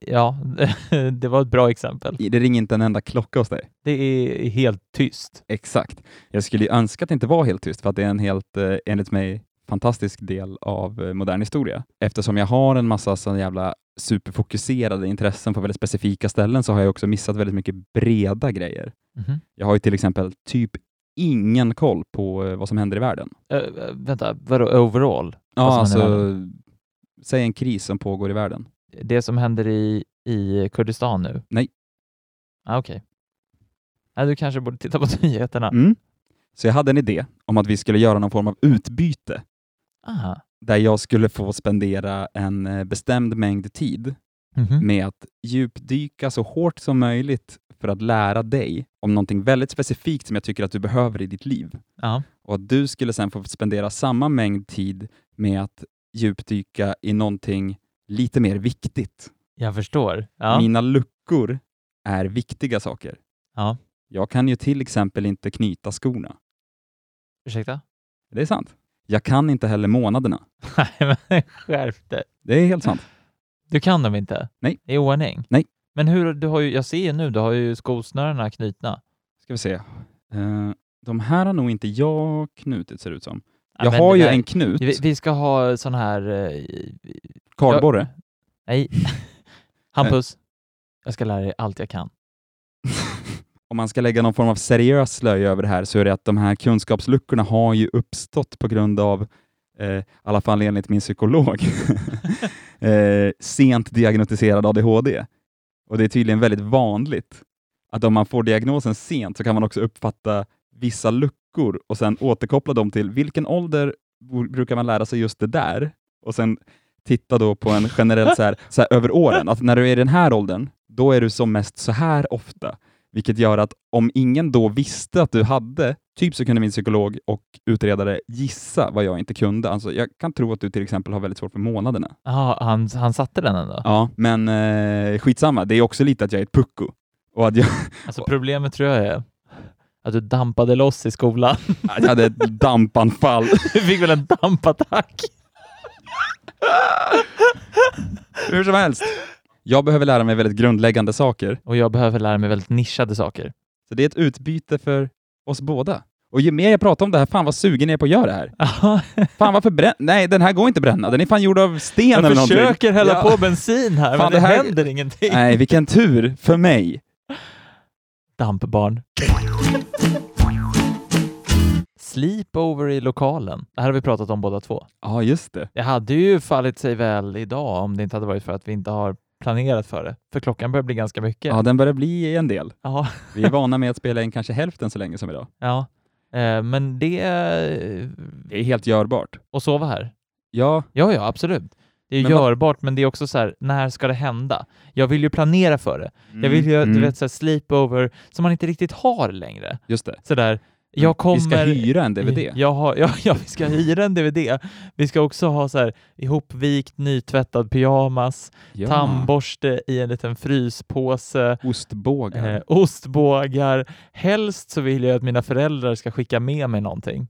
ja, det var ett bra exempel.
I- Det ringer inte en enda klocka hos dig.
Det är helt tyst.
Exakt. Jag skulle ju önska att det inte var helt tyst för att det är en helt, eh, enligt mig, fantastisk del av eh, modern historia. Eftersom jag har en massa sån jävla superfokuserade intressen på väldigt specifika ställen så har jag också missat väldigt mycket breda grejer.
Mhm.
Jag har ju till exempel typ ingen koll på eh, vad som händer i världen.
Eh, eh, vänta, vadå overall? Vad
Ja,
som händer i
alltså, säg en kris som pågår i världen.
Det som händer i, i Kurdistan nu?
Nej.
Ah, Okej. Nej, du kanske borde titta på nyheterna.
Mm. Så jag hade en idé om att vi skulle göra någon form av utbyte
Aha.
där jag skulle få spendera en eh, bestämd mängd tid
Mhm.
med att djupdyka så hårt som möjligt för att lära dig om någonting väldigt specifikt som jag tycker att du behöver i ditt liv.
Ja.
Och att du skulle sen få spendera samma mängd tid med att djupdyka i någonting lite mer viktigt.
Jag förstår. Ja.
Mina luckor är viktiga saker.
Ja.
Jag kan ju till exempel inte knyta skorna.
Ursäkta?
Det är sant. Jag kan inte heller månaderna.
Nej, men skärp dig.
Det är helt
Äh.
sant.
Du kan dem inte?
Nej.
I ordning?
Nej.
Men hur, du har ju, jag ser ju nu, du har ju skosnörena knutna.
Ska vi se. Eh, de här har nog inte jag knutit ser det ut som.
Ja,
jag
men
har
det
ju
där-
en knut.
Vi, vi ska ha sån här... eh,
Kardborre.
Nej. Hampus, jag ska lära dig allt jag kan.
Om man ska lägga någon form av seriös slöja över det här så är det att de här kunskapsluckorna har ju uppstått på grund av, eh, i alla fall enligt min psykolog, eh, sent diagnostiserad ADHD. Och det är tydligen väldigt vanligt att om man får diagnosen sent så kan man också uppfatta vissa luckor och sen återkoppla dem till vilken ålder bo- brukar man lära sig just det där? Och sen titta då på en generell så här, så här över åren, att när du är i den här åldern, då är du som mest så här ofta. Vilket gör att om ingen då visste att du hade, typ så kunde min psykolog och utredare gissa vad jag inte kunde. Alltså, jag kan tro att du till exempel har väldigt svårt för månaderna.
Ja, han, han satte den ändå.
Ja, men eh, skitsamma. Det är också lite att jag är ett pucko. Och att jag,
Alltså problemet tror jag är att du dampade loss i skolan.
att jag hade ett dampanfall.
Du fick väl en dampattack?
Hur som helst. Jag behöver lära mig väldigt grundläggande saker.
Och jag behöver lära mig väldigt nischade saker.
Så det är ett utbyte för oss båda. Och ju mer jag pratar om det här, fan vad sugen jag är på att göra det här. Fan varför bränner... Nej, den här går inte att bränna. Den är fan gjord av sten eller
Jag
någonting.
försöker hälla
Ja.
på bensin här,
Fan,
men det,
det här-
händer ingenting.
Nej, vilken tur för mig.
Dampbarn. Sleepover i lokalen. Det här har vi pratat om båda två.
Ja, just det.
Det hade ju fallit sig väl idag om det inte hade varit för att vi inte har planerat för det. För klockan börjar bli ganska mycket.
Ja, den börjar bli en del.
Ja.
Vi är vana med att spela in kanske hälften så länge som idag.
Ja. Eh, men det...
Det är helt görbart.
Och sova här?
Ja.
Ja, ja, absolut. Det är
Men vad-
görbart, men det är också så här, när ska det hända? Jag vill ju planera för det. Jag vill ju,
Mm,
du
mm.
vet, så här, sleepover som man inte riktigt har längre.
Just det.
Så där, jag kommer...
Mm. Vi ska hyra en DVD.
Jag har, ja, ja, vi ska hyra en DVD. Vi ska också ha så här, ihopvikt, nytvättad pyjamas,
Ja.
tandborste i en liten fryspåse.
Ostbågar.
Eh, ostbågar. Helst så vill jag att mina föräldrar ska skicka med mig någonting.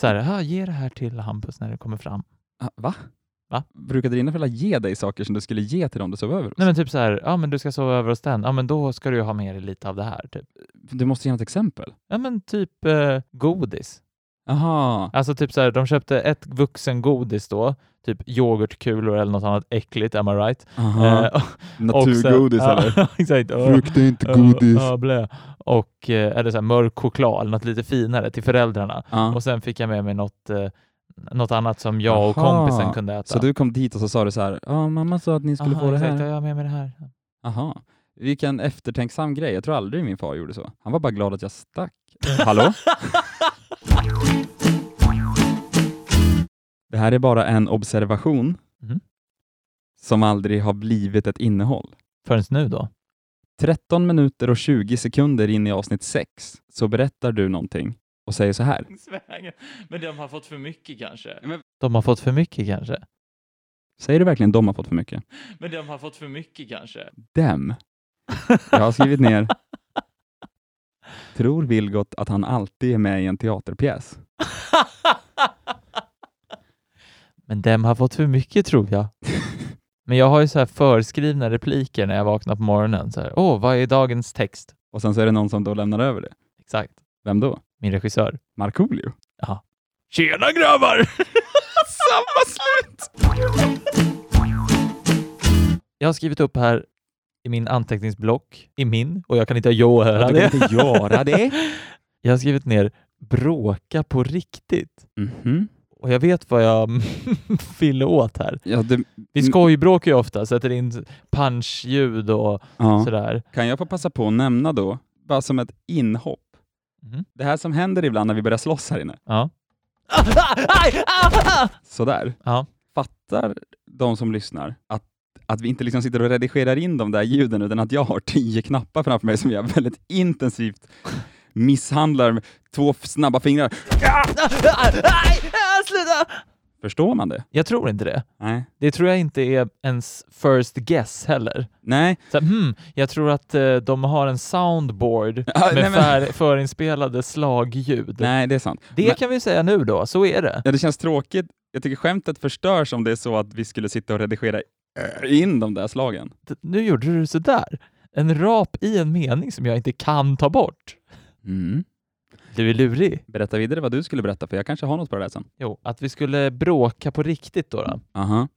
Så här, "Ah, ge det här till Hampus när det kommer fram.
Ah, Va?
Va?
Brukade dina föräldrar ge dig saker som du skulle ge till dem du sov över?
Nej men typ så här, ja men du ska sova över hos den, ja men då ska du ju ha med dig lite av det här typ.
Du måste ge något exempel.
Ja men typ eh, godis.
Aha.
Alltså typ så här, de köpte ett vuxengodis då, typ yoghurtkulor eller något annat äckligt, am I right?
Aha.
Eh, och-
Naturgodis,
och sen-
eller?
Ja, exakt. Ja.
Frukt är inte
Ja,
godis.
Ja, blä. Och, eh, eller så här, mörk choklad, något lite finare till föräldrarna.
Ja.
Och sen fick jag med mig något, eh, något annat som jag och
Aha.
kompisen kunde äta.
Så du kom dit och så sa du så här, ja mamma sa att ni skulle
Aha,
få det
exakt,
här.
Ja, jag har med mig det här.
Aha. Vilken eftertänksam grej. Jag tror aldrig min far gjorde så. Han var bara glad att jag stack. Eh, Hallå? det här är bara en observation
Mhm.
som aldrig har blivit ett innehåll.
Förrän nu då?
13 minuter och 20 sekunder in i avsnitt 6 så berättar du någonting och säger så här.
Men de har fått för mycket kanske.
De har fått för mycket kanske? Säger du verkligen de har fått för mycket?
Men de har fått för mycket kanske.
Dem. Jag har skrivit ner. Tror Vilgot att han alltid är med i en teaterpjäs?
Men dem har fått för mycket tror jag. Men jag har ju så här förskrivna repliker när jag vaknar på morgonen. Så här, Åh, vad är dagens text?
Och sen så är det någon som då lämnar över det.
Exakt.
Vem då?
Min regissör.
Markoolio.
Ja. Tjena grabbar!
Samma slut!
Jag har skrivit upp här i min anteckningsblock, i min, och jag kan inte göra
Ja,
det.
du kan inte göra det.
Jag har skrivit ner bråka på riktigt.
Mhm.
Och jag vet vad jag fyller åt här.
Ja, det-
Vi skojbråkar ju ofta, sätter in punchljud och
Ja.
sådär.
Kan jag få passa på att nämna då, bara som ett inhopp,
Mhm.
det här som händer ibland när vi börjar slåss här inne.
Ja.
Sådär.
Ja.
Fattar de som lyssnar att, att vi inte liksom sitter och redigerar in de där ljuden, utan att jag har tio knappar framför mig som jag väldigt intensivt misshandlar med två f- snabba fingrar.
Sluta!
Förstår man det?
Jag tror inte det.
Nej.
Det tror jag inte är ens first guess heller.
Nej.
Så, här, hmm, jag tror att eh, de har en soundboard med
nej, men-
för, förinspelade slagljud.
Nej, det är sant.
Det
Men-
kan vi säga nu då, så är det.
Ja, det känns tråkigt. Jag tycker skämtet förstörs om det är så att vi skulle sitta och redigera eh, in de där slagen.
D- Nu gjorde du sådär. En rap i en mening som jag inte kan ta bort. Mm. Du är lurig.
Berätta vidare vad du skulle berätta, för jag kanske har något på det här sen.
Jo, att vi skulle bråka på riktigt då. då.
Aha.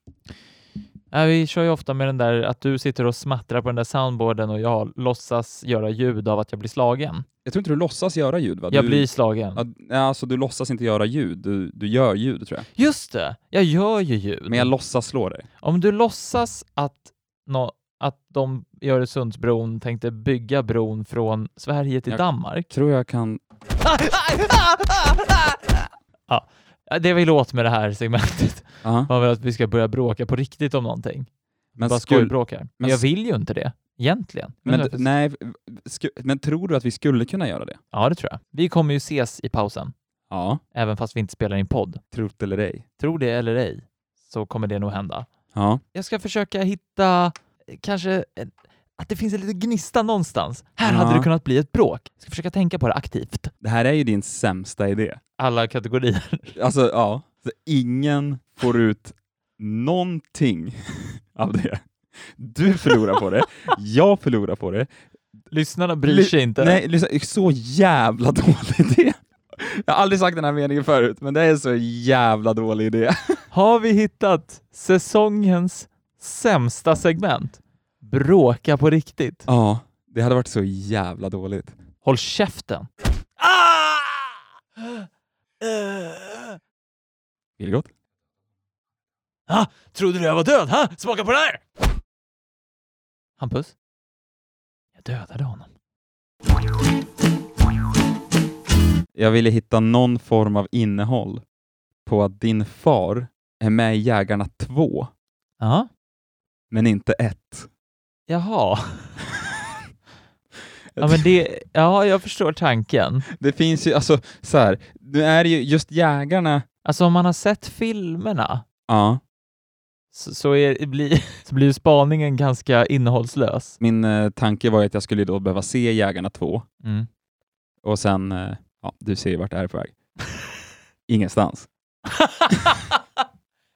Ja, vi kör ju ofta med den där att du sitter och smattrar på den där soundboarden och jag låtsas göra ljud av att jag blir slagen.
Jag tror inte du låtsas göra ljud, va?
Jag
du...
blir slagen.
Ja, d- Alltså, du låtsas inte göra ljud. Du, du gör ljud, tror jag.
Just det, jag gör ju ljud.
Men jag låtsas slå dig.
Om du låtsas att, nå att de i Öresundsbron tänkte bygga bron från Sverige till
Jag
Danmark.
tror jag kan...
Ja, det vi låt med det här segmentet
Aha.
var väl att vi ska börja bråka på riktigt om någonting.
Men
Bara
skulle-
skojbråkar. Men,
men
jag
s-
vill ju inte det, egentligen.
Men,
jag-
d- nej, sku... men tror du att vi skulle kunna göra det?
Ja, det tror jag. Vi kommer ju ses i pausen,
Ja.
även fast vi inte spelar in podd.
Trot eller ej.
Tror det eller ej, så kommer det nog hända.
Ja.
Jag ska försöka hitta eh, kanske en, att det finns en liten gnista någonstans. Här
Ja.
hade det kunnat bli ett bråk. Jag ska försöka tänka på det aktivt.
Det här är ju din sämsta idé.
Alla kategorier.
Alltså, ja. Så ingen får ut någonting av det. Du förlorar på det, jag förlorar på det.
Lyssnarna bryr sig
Ly-
inte.
Nej, lyssna, det är så jävla dålig idé. Jag har aldrig sagt den här meningen förut, men det är så jävla dålig idé.
Har vi hittat säsongens sämsta segment? Bråka på riktigt.
Ja, det hade varit så jävla dåligt.
Håll käften.
Vilgot? Eh,
Ah, trodde du jag var död? Ha? Smaka på det här! Hampus? Jag dödade honom.
Jag ville hitta någon form av innehåll på att din far är med i Jägarna 2,
Ja.
men inte 1.
Jaha. ja, men det, ja, jag förstår tanken.
Det finns ju, alltså så här, nu är det ju just jägarna...
Alltså om man har sett filmerna
Ja.
så, så, är, blir, så blir ju spaningen ganska innehållslös.
Min eh, tanke var ju att jag skulle då behöva se Jägarna 2
Mm.
och sen, eh, ja, du ser ju vart det här är på väg. Ingenstans.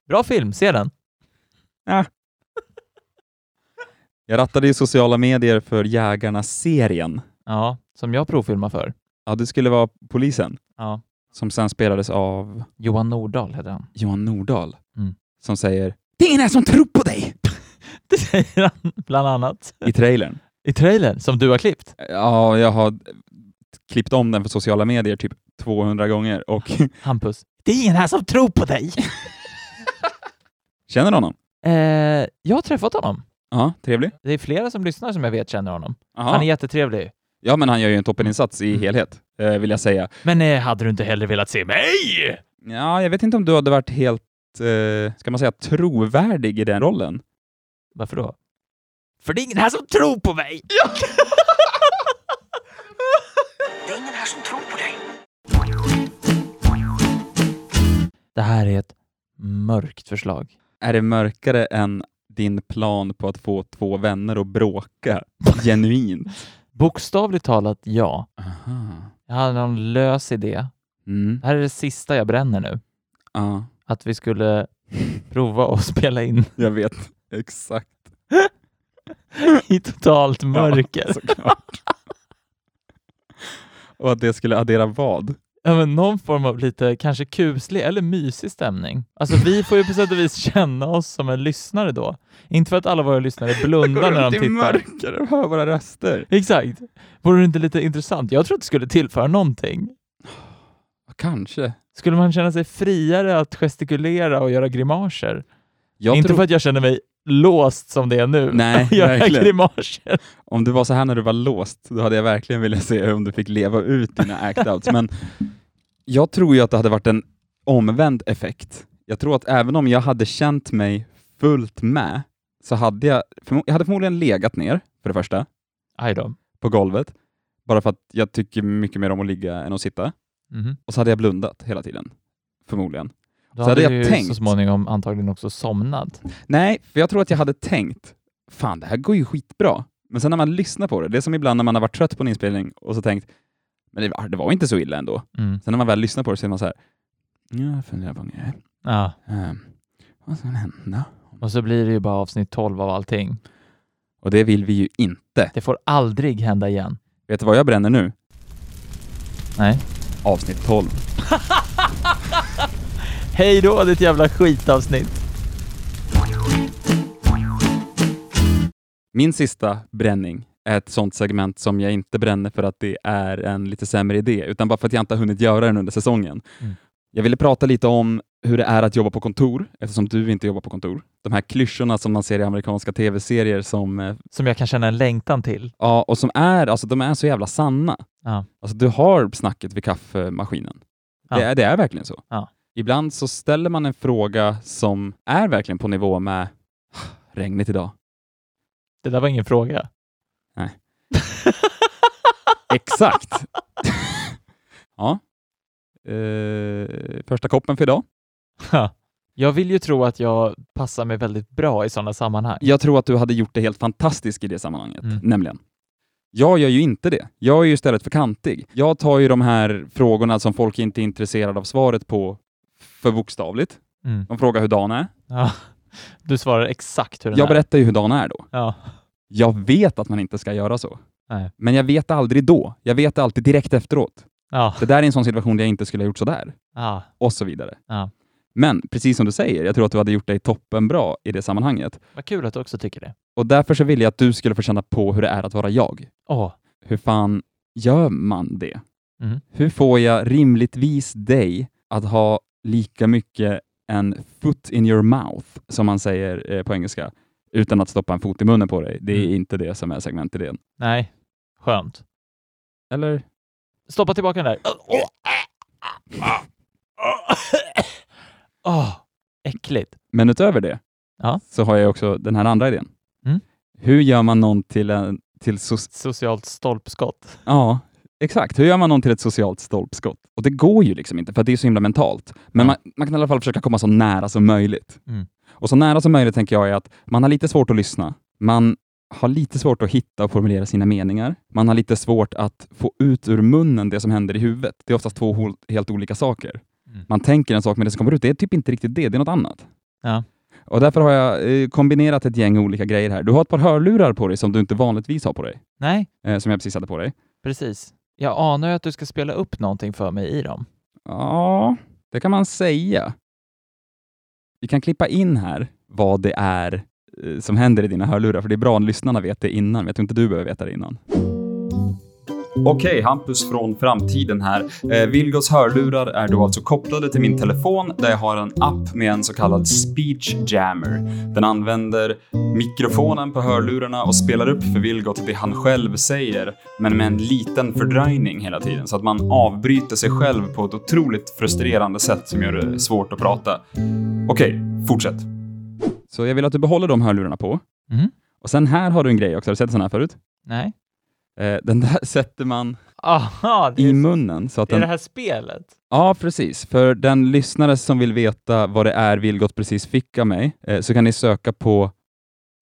Bra film, se den.
Jag rattade ju sociala medier för Jägarna-serien.
Ja, som jag provfilmar för.
Ja, det skulle vara polisen.
Ja.
Som sen spelades av
Johan Nordahl heter han.
Johan Nordahl.
Mm.
Som säger
Det är ingen som tror på dig! det säger han bland annat.
i trailern.
I trailern, som du har klippt.
Ja, jag har klippt om den för sociala medier typ 200 gånger och
Hampus. Det är ingen här som tror på dig!
känner honom.
eh, jag har träffat honom.
Ja, trevlig.
Det är flera som lyssnar som jag vet känner honom.
Aha.
Han är Mm. jättetrevlig.
Ja, men han gör ju en toppeninsats i helhet, eh, vill jag säga.
Men eh, hade du inte hellre velat se mig?
Ja, jag vet inte om du hade varit helt, eh, ska man säga trovärdig i den rollen?
Varför då? För det är ingen här som tror på mig! Ja.
Det är ingen här som tror på dig.
Det här är ett mörkt förslag.
Är det mörkare än din plan på att få två vänner att bråka genuint?
Bokstavligt talat, ja.
Aha.
Jag hade någon lös idé.
Mm.
Det här är det sista jag bränner nu.
Ja,
Att vi skulle prova att spela in
jag vet. Exakt.
i totalt mörker.
Ja, såklart. Och att det skulle addera vad?
Ja, men någon form av lite kanske kuslig eller mysig stämning. Alltså vi får ju på sätt och vis känna oss som en lyssnare då. Inte för att alla våra lyssnare blundar när de
Det är
tittar.
mörkare och hör våra röster.
Exakt. Vore det inte lite intressant? Jag tror att det skulle tillföra någonting.
Kanske.
Skulle man känna sig friare att gestikulera och göra grimaser?
Jag
inte
tror-
för att jag känner mig låst som det är nu.
Nej,
jag gör
verkligen.
grimaser.
Om du var så här när du var låst, då hade jag verkligen velat se om du fick leva ut dina act-outs. Men jag tror ju att det hade varit en omvänd effekt. Jag tror att även om jag hade känt mig fullt med, så hade jag, förmo- jag hade förmodligen legat ner, för det första,
Aj då.
på golvet. Bara för att jag tycker mycket mer om att ligga än att sitta.
Mhm.
Och så hade jag blundat hela tiden, förmodligen.
Då
så hade jag
du ju
tänkt.
så småningom antagligen också somnat.
Nej, för jag tror att jag hade tänkt, fan det här går ju skitbra. Men sen när man lyssnar på det, det är som ibland när man har varit trött på en inspelning och så tänkt, men det var, det var inte så illa ändå.
Mm.
Sen när man väl lyssnar på det så är man så här, ja, jag funderar på en grej.
Ja.
Ehm, vad ska hända?
Och så blir det ju bara avsnitt 12 av allting.
Och det vill vi ju inte.
Det får aldrig hända igen.
Vet du vad jag bränner nu?
Nej.
Avsnitt 12.
Hej då ditt jävla skitavsnitt!
Min sista bränning är ett sånt segment som jag inte bränner för att det är en lite sämre idé, utan bara för att jag inte har hunnit göra den under säsongen.
Mm.
Jag ville prata lite om hur det är att jobba på kontor, eftersom du inte jobbar på kontor. De här klyschorna som man ser i amerikanska tv-serier som, eh,
Som jag kan känna en längtan till.
ja, och som är, alltså de är så jävla sanna.
Ja.
Alltså du har snacket vid kaffemaskinen.
Ja.
Det, är, det är verkligen så.
Ja.
Ibland så ställer man en fråga som är verkligen på nivå med regnet idag.
Det där var ingen fråga.
Exakt. ja. Eh, första koppen för idag.
Ha. Jag vill ju tro att jag passar mig väldigt bra i sådana sammanhang.
Jag tror att du hade gjort det helt fantastiskt i det sammanhanget,
Mm.
nämligen. Jag gör ju inte det. Jag är ju istället för kantig. Jag tar ju de här frågorna som folk inte är intresserade av svaret på för bokstavligt.
Mm.
De frågar hur dagen är.
Ja. Du svarar exakt hur den
Jag
är.
berättar ju hur dagen är då.
Ja.
Jag vet att man inte ska göra så.
Nej.
Men jag vet aldrig då. Jag vet det alltid direkt efteråt.
Ja.
Det där är en sån situation där jag inte skulle ha gjort sådär.
Ja.
och så vidare.
Ja.
Men precis som du säger, jag tror att du hade gjort dig toppenbra i det sammanhanget.
Vad kul att du också tycker det.
Och därför så ville jag att du skulle få känna på hur det är att vara jag.
Åh,
Hur fan gör man det?
Mm.
Hur får jag rimligtvis dig att ha lika mycket en foot in your mouth, som man säger eh, på engelska, utan att stoppa en fot i munnen på dig. Det
Mm.
är inte det som är segmentidén.
Nej, skönt.
Eller?
Stoppa tillbaka den där. Åh, äckligt.
Men utöver det
Ja.
så har jag också den här andra idén.
Mm.
Hur gör man någon till en... Till so-
Socialt stolpskott.
ja, exakt. Hur gör man någon till ett socialt stolpskott? Och det går ju liksom inte, för att det är så himla mentalt. Men man, man kan i alla fall försöka komma så nära som möjligt.
Mm.
Och så nära som möjligt tänker jag är att man har lite svårt att lyssna. Man har lite svårt att hitta och formulera sina meningar. Man har lite svårt att få ut ur munnen det som händer i huvudet. Det är oftast två hol- helt olika saker.
Mm.
Man tänker en sak, men det som kommer ut det är typ inte riktigt det, det är något annat.
Ja.
Och därför har jag eh, kombinerat ett gäng olika grejer här. Du har ett par hörlurar på dig som du inte vanligtvis har på dig,
Nej,
eh, som jag precis hade på dig.
precis. Jag anar ju att du ska spela upp någonting för mig i dem.
Ja, det kan man säga. Vi kan klippa in här vad det är eh, som händer i dina hörlurar, för det är bra om lyssnarna vet det innan, men jag tror inte du behöver veta det innan. Okej, Hampus från framtiden här. Eh, Vilgos hörlurar är då alltså kopplade till min telefon där jag har en app med en så kallad speech jammer. Den använder mikrofonen på hörlurarna och spelar upp för Vilgot det han själv säger, men med en liten fördröjning hela tiden så att man avbryter sig själv på ett otroligt frustrerande sätt som gör det svårt att prata. Okej, fortsätt. Så jag vill att du behåller de hörlurarna på.
Mhm.
Och sen här har du en grej också. Har du sett sån här förut?
Nej.
Eh, den där sätter man
Aha, det
i
är,
munnen. Så att
det, är
den...
det här spelet.
Ja, precis. För den lyssnare som vill veta vad det är Vilgot precis fick av mig eh, så kan ni söka på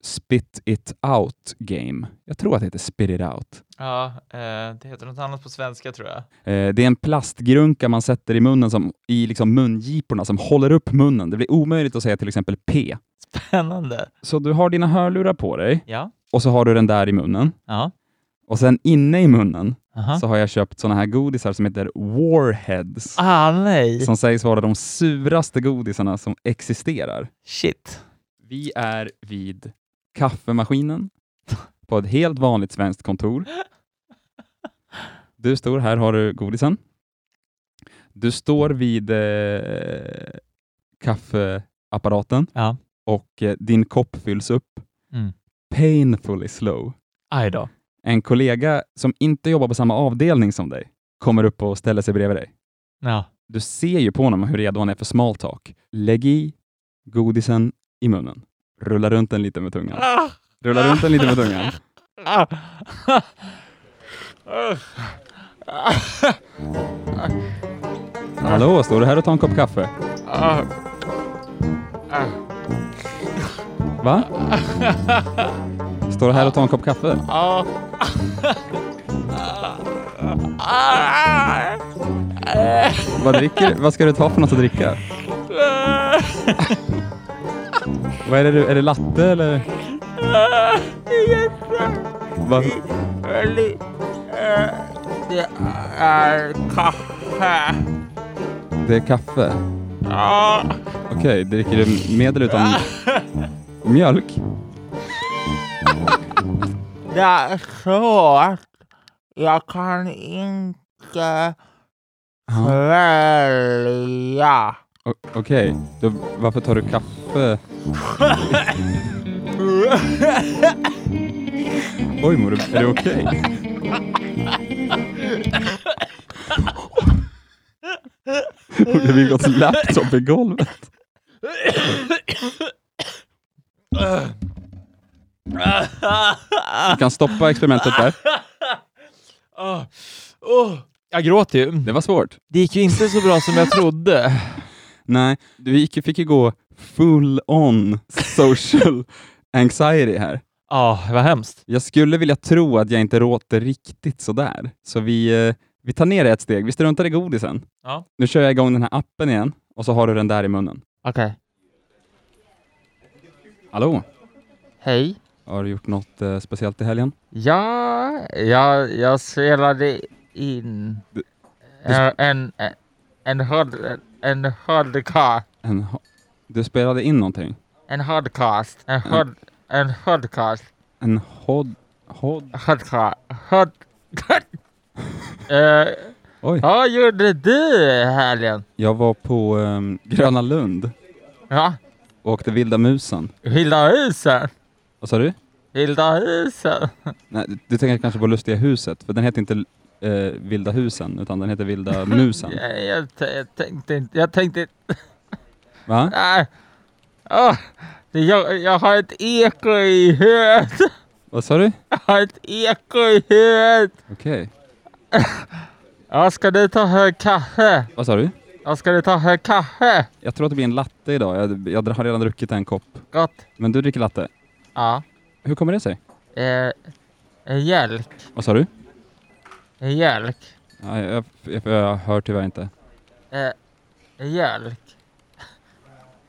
Spit It Out Game. Jag tror att det heter Spit It Out.
Ja, eh, det heter något annat på svenska tror jag.
Eh, Det är en plastgrunka man sätter i munnen, som, i liksom mungiporna, som håller upp munnen. Det blir omöjligt att säga till exempel P.
Spännande.
Så du har dina hörlurar på dig
Ja.
och så har du den där i munnen.
Ja.
Och sen inne i munnen
Aha.
så har jag köpt såna här godisar som heter Warheads.
Ah, nej.
Som sägs vara de suraste godisarna som existerar.
Shit.
Vi är vid kaffemaskinen på ett helt vanligt svenskt kontor. Du står, här har du godisen. Du står vid eh, kaffeapparaten
Ja.
och eh, din kopp fylls upp.
Mm.
Painfully slow.
Aj då.
En kollega som inte jobbar på samma avdelning som dig kommer upp och ställer sig bredvid dig.
Ja.
Du ser ju på honom hur redo han är för small talk. Lägg i godisen i munnen. Rulla runt den lite med tungan.
Ah.
Rulla runt den lite med tungan.
Ah.
Hallå, står du här och tar en kopp kaffe? Va? Står du här och tar en kopp kaffe?
Ah. Ah.
Vad, dricker, vad ska du ta för något att dricka? Vad är det du, är det latte eller? Vad?
Det är kaffe.
Det är kaffe?
Ah.
Okej, dricker du med eller utan mjölk?
Det är så att jag kan inte svälja.
O- Okej, då varför tar du kaffe? Oj mor, är det okej? Okay? Det blir gått laptop i golvet. Du kan stoppa experimentet där.
Ah. Oh. Jag gråter ju.
Det var svårt.
Det gick ju inte så bra som jag trodde.
Nej, du gick, fick ju gå full on social anxiety här.
Ja, vad hemskt.
Jag skulle vilja tro att jag inte råter riktigt sådär. Så vi, eh, vi tar ner det ett steg. Vi struntar i godisen.
Ja.
Nu kör jag igång den här appen igen och så har du den där i munnen.
Okej.
Hallå?
Hej.
Har du gjort något eh, speciellt i helgen?
Ja, jag, jag spelade in en, en, en, hod- en podcast.
En, ho- du spelade in någonting?
En podcast. En, hod, en podcast.
En hod... hod...
Podcast. Hod, Eh,
Oj.
Vad gjorde du i helgen?
Jag var på ehm, Gröna Lund
Ja,
och åkte vilda musen.
Vilda huset?
Vad sa du?
Vilda husen.
Nej, du- du tänker kanske på Lustiga huset, för den heter inte eh, Vilda husen, utan den heter Vilda musen.
Jag, jag, t- jag tänkte inte... Jag tänkte inte...
Va?
Nej. Äh, Åh, det- jag, jag har ett eko i huvudet.
Vad sa du?
Jag har ett eko i huvudet.
Okej.
Ja, ska du ta hög kaffe?
Vad sa du?
Ja, ska du ta hög kaffe?
Jag tror att det blir en latte idag. Jag, jag har redan druckit en kopp.
Gott.
Men du dricker latte.
Ja.
Hur kommer det sig?
Eh, eh, mjölk.
Vad sa du?
Mjölk.
Ja, jag, jag, jag hör tyvärr inte.
Eh, mjölk.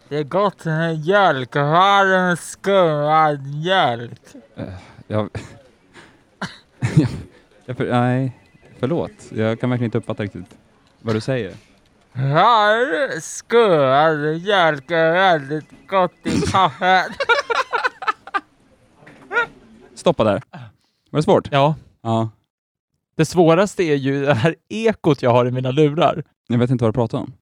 Det är gott med mjölk. Varm skummad mjölk.
Jag, jag, jag, för, nej, förlåt. Jag kan verkligen inte uppfatta riktigt vad du säger.
Varm skummad mjölk är väldigt gott i kaffet.
Stoppa där. Var det svårt?
Ja.
ja.
Det svåraste är ju det här ekot jag har i mina lurar.
Jag vet inte vad du pratar om.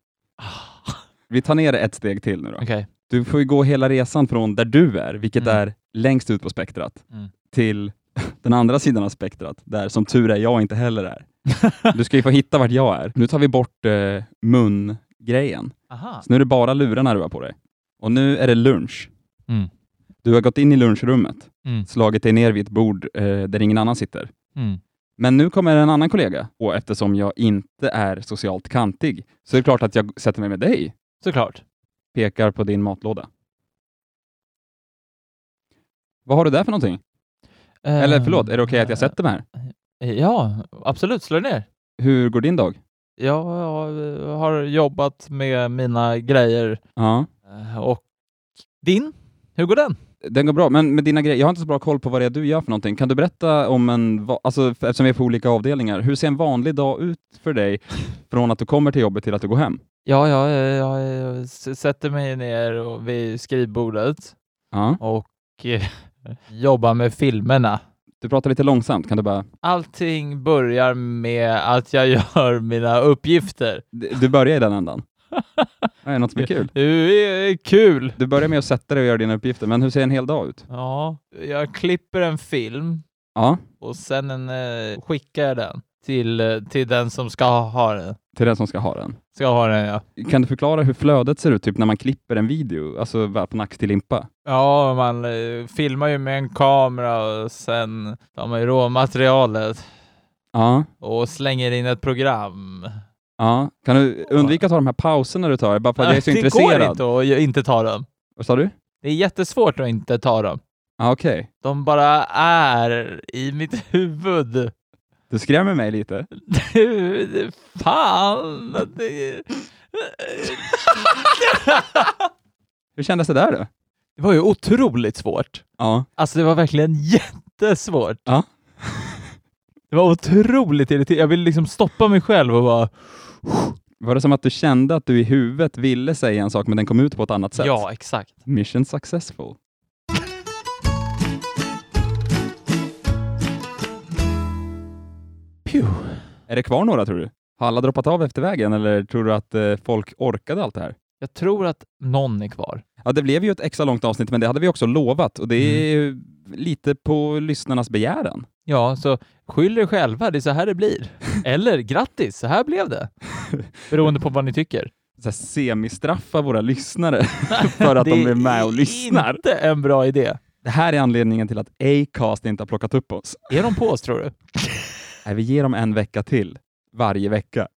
Ah. Vi tar ner det ett steg till nu då.
Okej.
Du får ju gå hela resan från där du är, vilket
Mm.
är längst ut på spektrat,
Mm.
till den andra sidan av spektrat, där som tur är jag inte heller är. Du ska ju få hitta vart jag är. Nu tar vi bort eh, mungrejen.
Aha.
Så nu är det bara lurarna du har på dig. Och nu är det lunch.
Mm.
Du har gått in i lunchrummet,
Mm.
slagit dig ner vid ett bord eh, där ingen annan sitter.
Mm.
Men nu kommer en annan kollega och eftersom jag inte är socialt kantig så är det klart att jag sätter mig med dig.
Såklart.
Pekar på din matlåda. Vad har du där för någonting? Eller
Ehm,
förlåt, är det okej att
eh,
jag sätter mig här?
Ja, absolut. Slå ner.
Hur går din dag?
Jag har- har jobbat med mina grejer
Ja.
eh, och din? Hur går den?
Den går bra, men med dina grejer, jag har inte så bra koll på vad det är du gör för någonting. Kan du berätta om en, va- alltså f- eftersom vi är på olika avdelningar, hur ser en vanlig dag ut för dig från att du kommer till jobbet till att du går hem?
Ja, jag, jag, jag eh, s- sätter mig ner och vid skrivbordet
Ja.
och eh, jobbar med filmerna.
Du pratar lite långsamt, kan du bara...
Allting börjar med att jag gör mina uppgifter.
D- Du börjar i den ändan. Ja, Är det något som är kul?
Det är kul!
Du börjar med att sätta dig och göra dina uppgifter, men hur ser en hel dag ut?
Ja, jag klipper en film
Ja,
och sen en, eh, skickar jag den till, eh, till den som ska ha den.
till den som ska ha den.
Ska ha den, ja.
Kan du förklara hur flödet ser ut, typ när man klipper en video, alltså va- från ax till limpa?
Ja, man eh, filmar ju med en kamera och sen tar man ju råmaterialet
Ja,
och slänger in ett program.
ja. Kan du undvika att ta de här pauserna du tar, bara för att jag är så
det
intresserad?
går inte att ju- inte ta dem.
Vad sa du?
Det är jättesvårt att inte ta dem.
Ja, okej.
De bara är i mitt huvud.
Du skrämmer mig lite.
Du, fan! Det,
Hur kändes det där då?
det var ju otroligt svårt.
Ja.
Alltså det var verkligen jättesvårt.
Ja.
Det var otroligt irriterande. Jag ville liksom stoppa mig själv och bara
Var det som att du kände att du i huvudet ville säga en sak, men den kom ut på ett annat sätt?
Ja, exakt.
Mission successful.
Pew.
Är det kvar några tror du? Har alla droppat av efter vägen eller tror du att eh, folk orkade allt det här?
Jag tror att någon är kvar.
Ja, det blev ju ett extra långt avsnitt, men det hade vi också lovat och det är ju lite på lyssnarnas begäran.
Ja, så skyll er själva, det är så här det blir. Eller grattis, så här blev det. Beroende på vad ni tycker.
Så här, semistraffa våra lyssnare för att de är med och lyssnar.
inte en bra idé.
Det här är anledningen till att Acast inte har plockat upp oss.
Är de på oss tror du?
Nej, vi ger dem en vecka till varje vecka.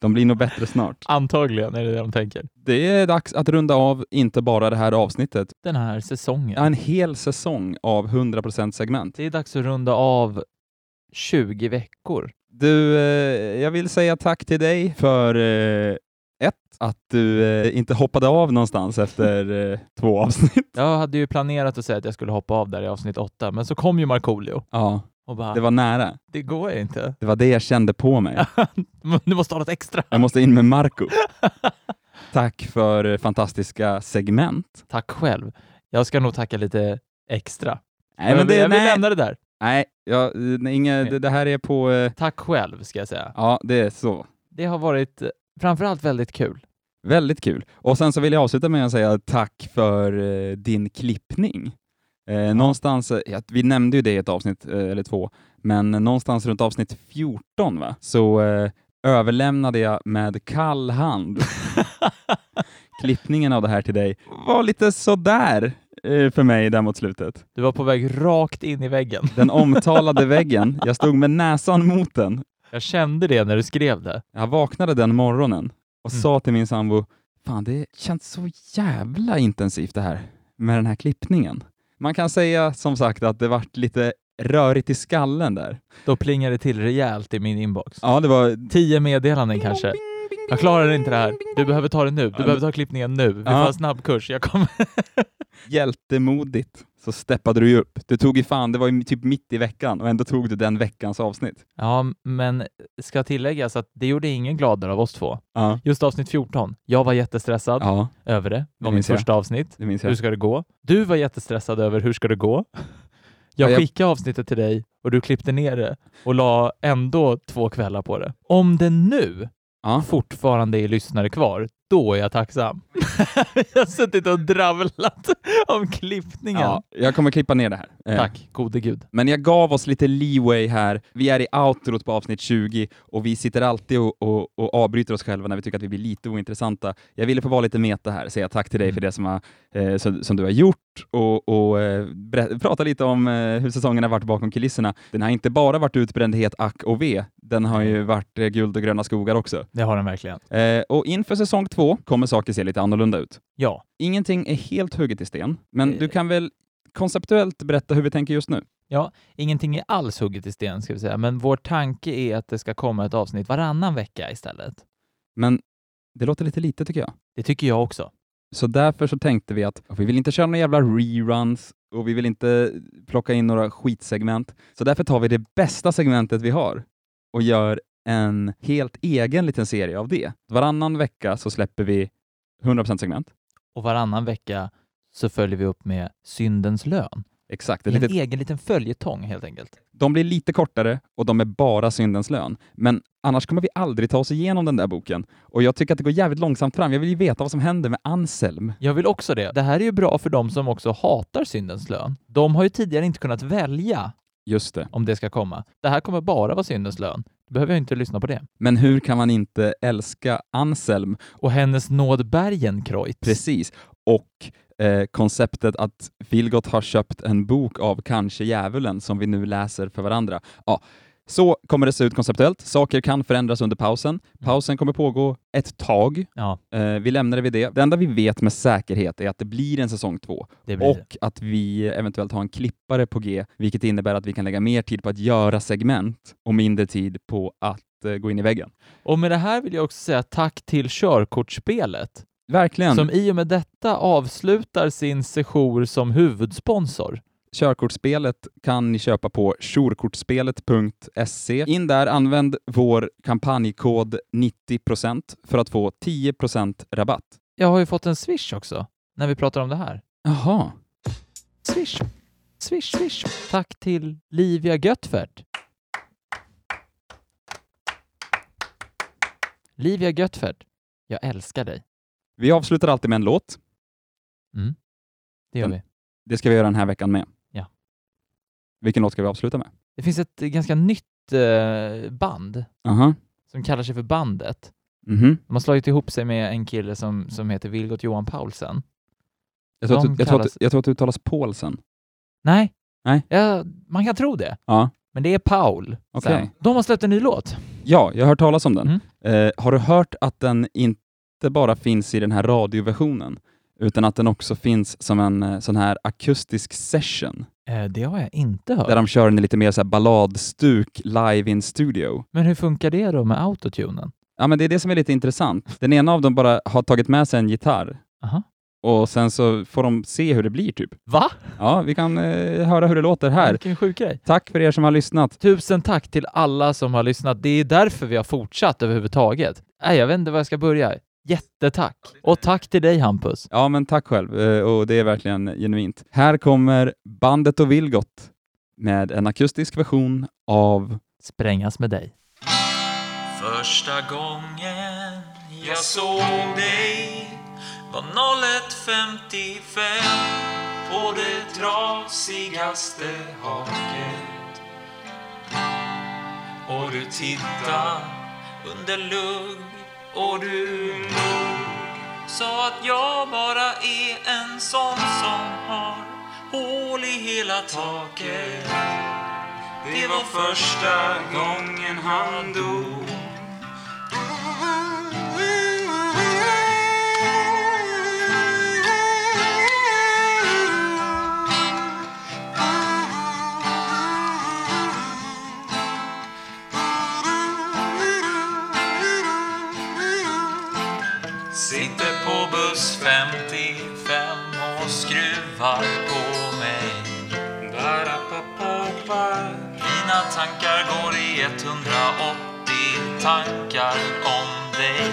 de blir nog bättre snart.
Antagligen är det det de tänker.
Det är dags att runda av inte bara det här avsnittet,
Den här säsongen.
en hel säsong av 100% segment.
Det är dags att runda av 20 veckor.
Du, eh, jag vill säga tack till dig för eh, ett, att du eh, inte hoppade av någonstans efter eh, två avsnitt.
Jag hade ju planerat att säga att jag skulle hoppa av där i avsnitt 8, men så kom ju Markoolio
Ja,
och bara
det var nära.
det går inte.
Det var det jag kände på mig.
Du måste ha något extra.
Jag måste in med Marco. Tack för eh, fantastiska segment.
Tack själv. Jag ska nog tacka lite extra.
Nej, men
jag,
det,
jag vill
nej,
lämna det där.
nej, ja, nej, inga, det, det här är på... eh,
Tack själv, ska jag säga.
Ja, det är så.
Det har varit eh, framförallt väldigt kul.
Väldigt kul. Och sen så vill jag avsluta med att säga tack för eh, din klippning. Eh, någonstans, eh, ja, vi nämnde ju det i ett avsnitt eh, eller två, men någonstans runt avsnitt 14 va? så eh, överlämnade jag med kall hand klippningen av det här till dig. var lite sådär eh, för mig där mot slutet.
Du var på väg rakt in i väggen.
Den omtalade väggen, jag stod med näsan mot den.
Jag kände det när du skrev det.
Jag vaknade den morgonen och
Mm.
sa till min sambo, fan det känns så jävla intensivt det här med den här klippningen. Man kan säga som sagt att det vart lite rörigt i skallen där.
Då plingade det till rejält i min inbox.
Ja, det var...
Tio meddelanden kanske. Jag klarar inte det här. Du behöver ta det nu. Du behöver ta klippningen nu. Vi får
Ja.
en snabbkurs. Jag kommer...
Hjältemodigt så steppade du ju upp. Du tog ju fan, det var ju typ mitt i veckan och ändå tog du den veckans avsnitt.
Ja, men ska tilläggas att det gjorde ingen gladare av oss två.
Ja.
Just avsnitt 14. Jag var jättestressad
Ja.
över det. Det var
Det
mitt
minns jag.
första avsnitt.
Det minns jag.
Hur ska det gå? Du var jättestressad över hur ska det gå? Jag
Ja, jag-
skickade avsnittet till dig och du klippte ner det och la ändå två kvällar på det. Om det nu fortfarande är lyssnare kvar, då är jag tacksam. jag har suttit och dravlat om klippningen.
Ja, jag kommer klippa ner det här. Eh,
Tack, gode gud.
Men jag gav oss lite leeway här. Vi är i outrot på avsnitt 20 och vi sitter alltid och, och, och avbryter oss själva när vi tycker att vi blir lite ointressanta. Jag ville få vara lite meta här, säga tack till dig för det som, har, eh, som, som du har gjort och, och eh, berä- prata lite om eh, hur säsongen har varit bakom kulisserna. Den har inte bara varit utbrändhet, ack och ve. Den har ju varit eh, guld och gröna skogar också.
Det har den verkligen.
Eh, och inför säsong två kommer saker se lite annorlunda ut.
Ja.
Ingenting är helt hugget i sten, men du kan väl konceptuellt berätta hur vi tänker just nu?
Ja, ingenting är alls hugget i sten ska vi säga, men vår tanke är att det ska komma ett avsnitt varannan vecka istället.
Men det låter lite lite tycker jag.
Det tycker jag också.
Så därför så tänkte vi att vi vill inte köra några jävla reruns och vi vill inte plocka in några skitsegment. Så därför tar vi det bästa segmentet vi har och gör en helt egen liten serie av det. Varannan vecka så släpper vi 100% segment.
Och varannan vecka så följer vi upp med syndens lön.
Exakt.
En e-
Ett litet,
egen liten följetong helt enkelt.
de blir lite kortare och de är bara syndens lön. Men annars kommer vi aldrig ta oss igenom den där boken. Och jag tycker att det går jävligt långsamt fram. Jag vill ju veta vad som händer med Anselm.
Jag vill också det. Det här är ju bra för de som också hatar syndens lön. De har ju tidigare inte kunnat välja
Just det.
om det ska komma. Det här kommer bara vara syndens lön. Då behöver jag inte lyssna på det.
Men hur kan man inte älska Anselm?
Och hennes nåd Bergenkreutz.
Precis. Och eh, konceptet att Vilgot har köpt en bok av kanske djävulen som vi nu läser för varandra. Ja, så kommer det se ut konceptuellt. Saker kan förändras under pausen. Pausen kommer pågå ett tag.
Ja.
Eh, vi lämnar det vid det. Det enda vi vet med säkerhet är att det blir en säsong två
Det blir
och att vi eventuellt har en klippare på G, vilket innebär att vi kan lägga mer tid på att göra segment och mindre tid på att eh, gå in i väggen.
Och med det här vill jag också säga tack till körkortsspelet.
Verkligen.
Som i och med detta avslutar sin sejour som huvudsponsor.
Körkortsspelet kan ni köpa på körkortsspelet.se. In där, använd vår kampanjkod 90% för att få 10% rabatt.
Jag har ju fått en swish också, när vi pratar om det här.
Jaha.
Swish, swish, swish. Tack till Livia Göttfert. Livia Göttfert, jag älskar dig.
Vi avslutar alltid med en låt.
Mm. Det gör vi.
Det ska vi göra den här veckan med.
Ja.
Vilken låt ska vi avsluta med?
Det finns ett ganska nytt eh, band
Aha.
som kallar sig för Bandet.
Mhm.
De har slagit ihop sig med en kille som, som heter Vilgot Johan Paulsen.
Jag, tror att du,
De
jag, tror att,
kallas-
jag tror att det uttalas Paulsen.
Nej,
Nej.
Ja, man kan tro det.
Ja.
Men det är Paul.
Okej.
sen. De har släppt en ny låt.
ja, jag har hört talas om den.
Mm.
Eh, har du hört att den inte bara finns i den här radioversionen, utan att den också finns som en eh, sån här akustisk session?
Eh, det har jag inte hört.
Där de kör en lite mer så här balladstuk live in studio.
Men hur funkar det då med autotunen?
Ja, men det är det som är lite intressant. Den ena av dem bara har tagit med sig en gitarr
Aha.
och sen så får de se hur det blir typ.
Va?
Ja, vi kan eh, höra hur det låter här.
Vilken sjuk grej.
Tack för er som har lyssnat.
Tusen tack till alla som har lyssnat. Det är därför vi har fortsatt överhuvudtaget. Nej, jag vet inte var jag ska börja. Jättetack! Och tack till dig Hampus.
Ja, men tack själv eh, och det är verkligen genuint. Här kommer bandet och Vilgot med en akustisk version av
Sprängas med dig.
Första gången jag såg dig var 01.55 på det trasigaste haket. Och du tittade under lugg och du log. Sa att jag bara är en sån som har hål i hela taket. Det var första gången han dog. Sitter på buss 55 och skruvar på mig. Barapapapa. Mina tankar går i 180 tankar om dig.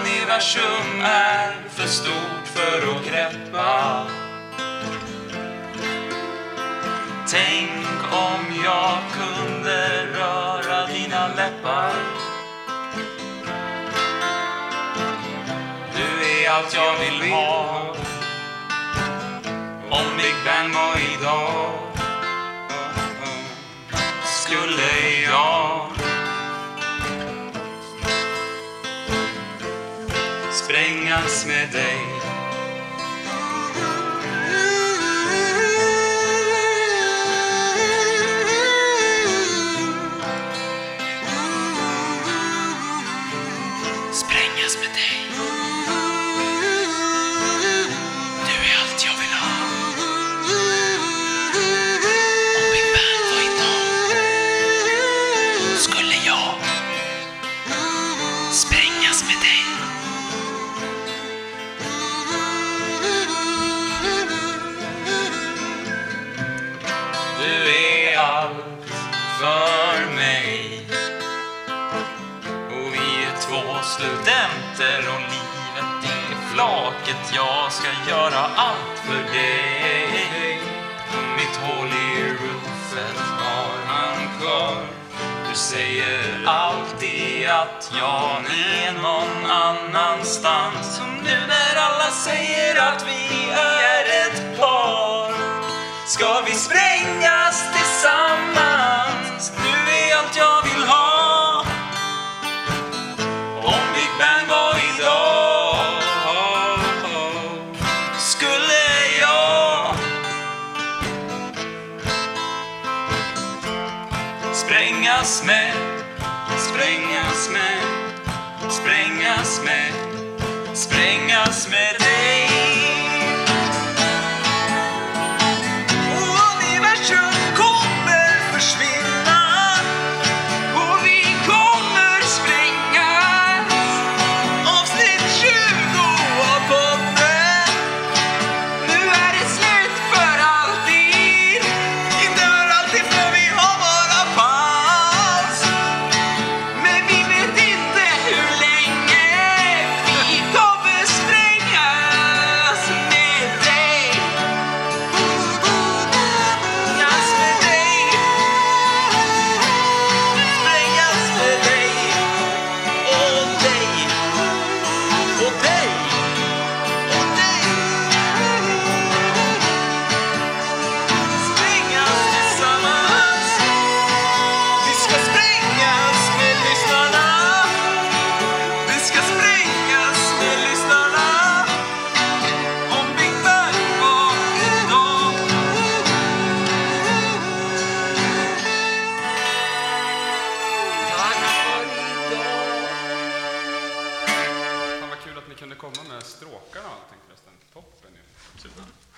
Universum är för stort för att greppa. Tänk om jag kunde röra dina läppar. Du är allt jag vill ha Om Big Bang var idag Skulle jag Sprängas med dig Sprängas med dig Du är allt jag vill ha Om Big Bang var idag Skulle jag Sprängas med dig Du är allt för mig Och vi är två studenter och livet är flaket Jag ska göra allt för dig Mitt hål i roofet har han kvar Du säger alltid att jag är någon annanstans Som nu när alla säger att vi är ett par Ska vi sprängas tillsammans? Du är allt jag vill ha Om Big Bang var idag Skulle jag Sprängas med Sprängas med Sprängas med Sprängas med dig Och universum kommer försvinna och vi kommer sprängas Avsnitt 20 av podden Nu är det slut för alltid Inte för alltid för vi har bara paus Men vi vet inte hur länge Vi kommer sprängas med dig Sprängas med dig Sprängas med dig och dig och dig och dig Sprängas tillsammans Vi ska sprängas med lyssnarna Vi ska sprängas med lyssnarna Om Big Bang var idag Tack för idag
Fan vad kul att ni kunde komma med stråkarna och allting förresten. Toppen ju. Super.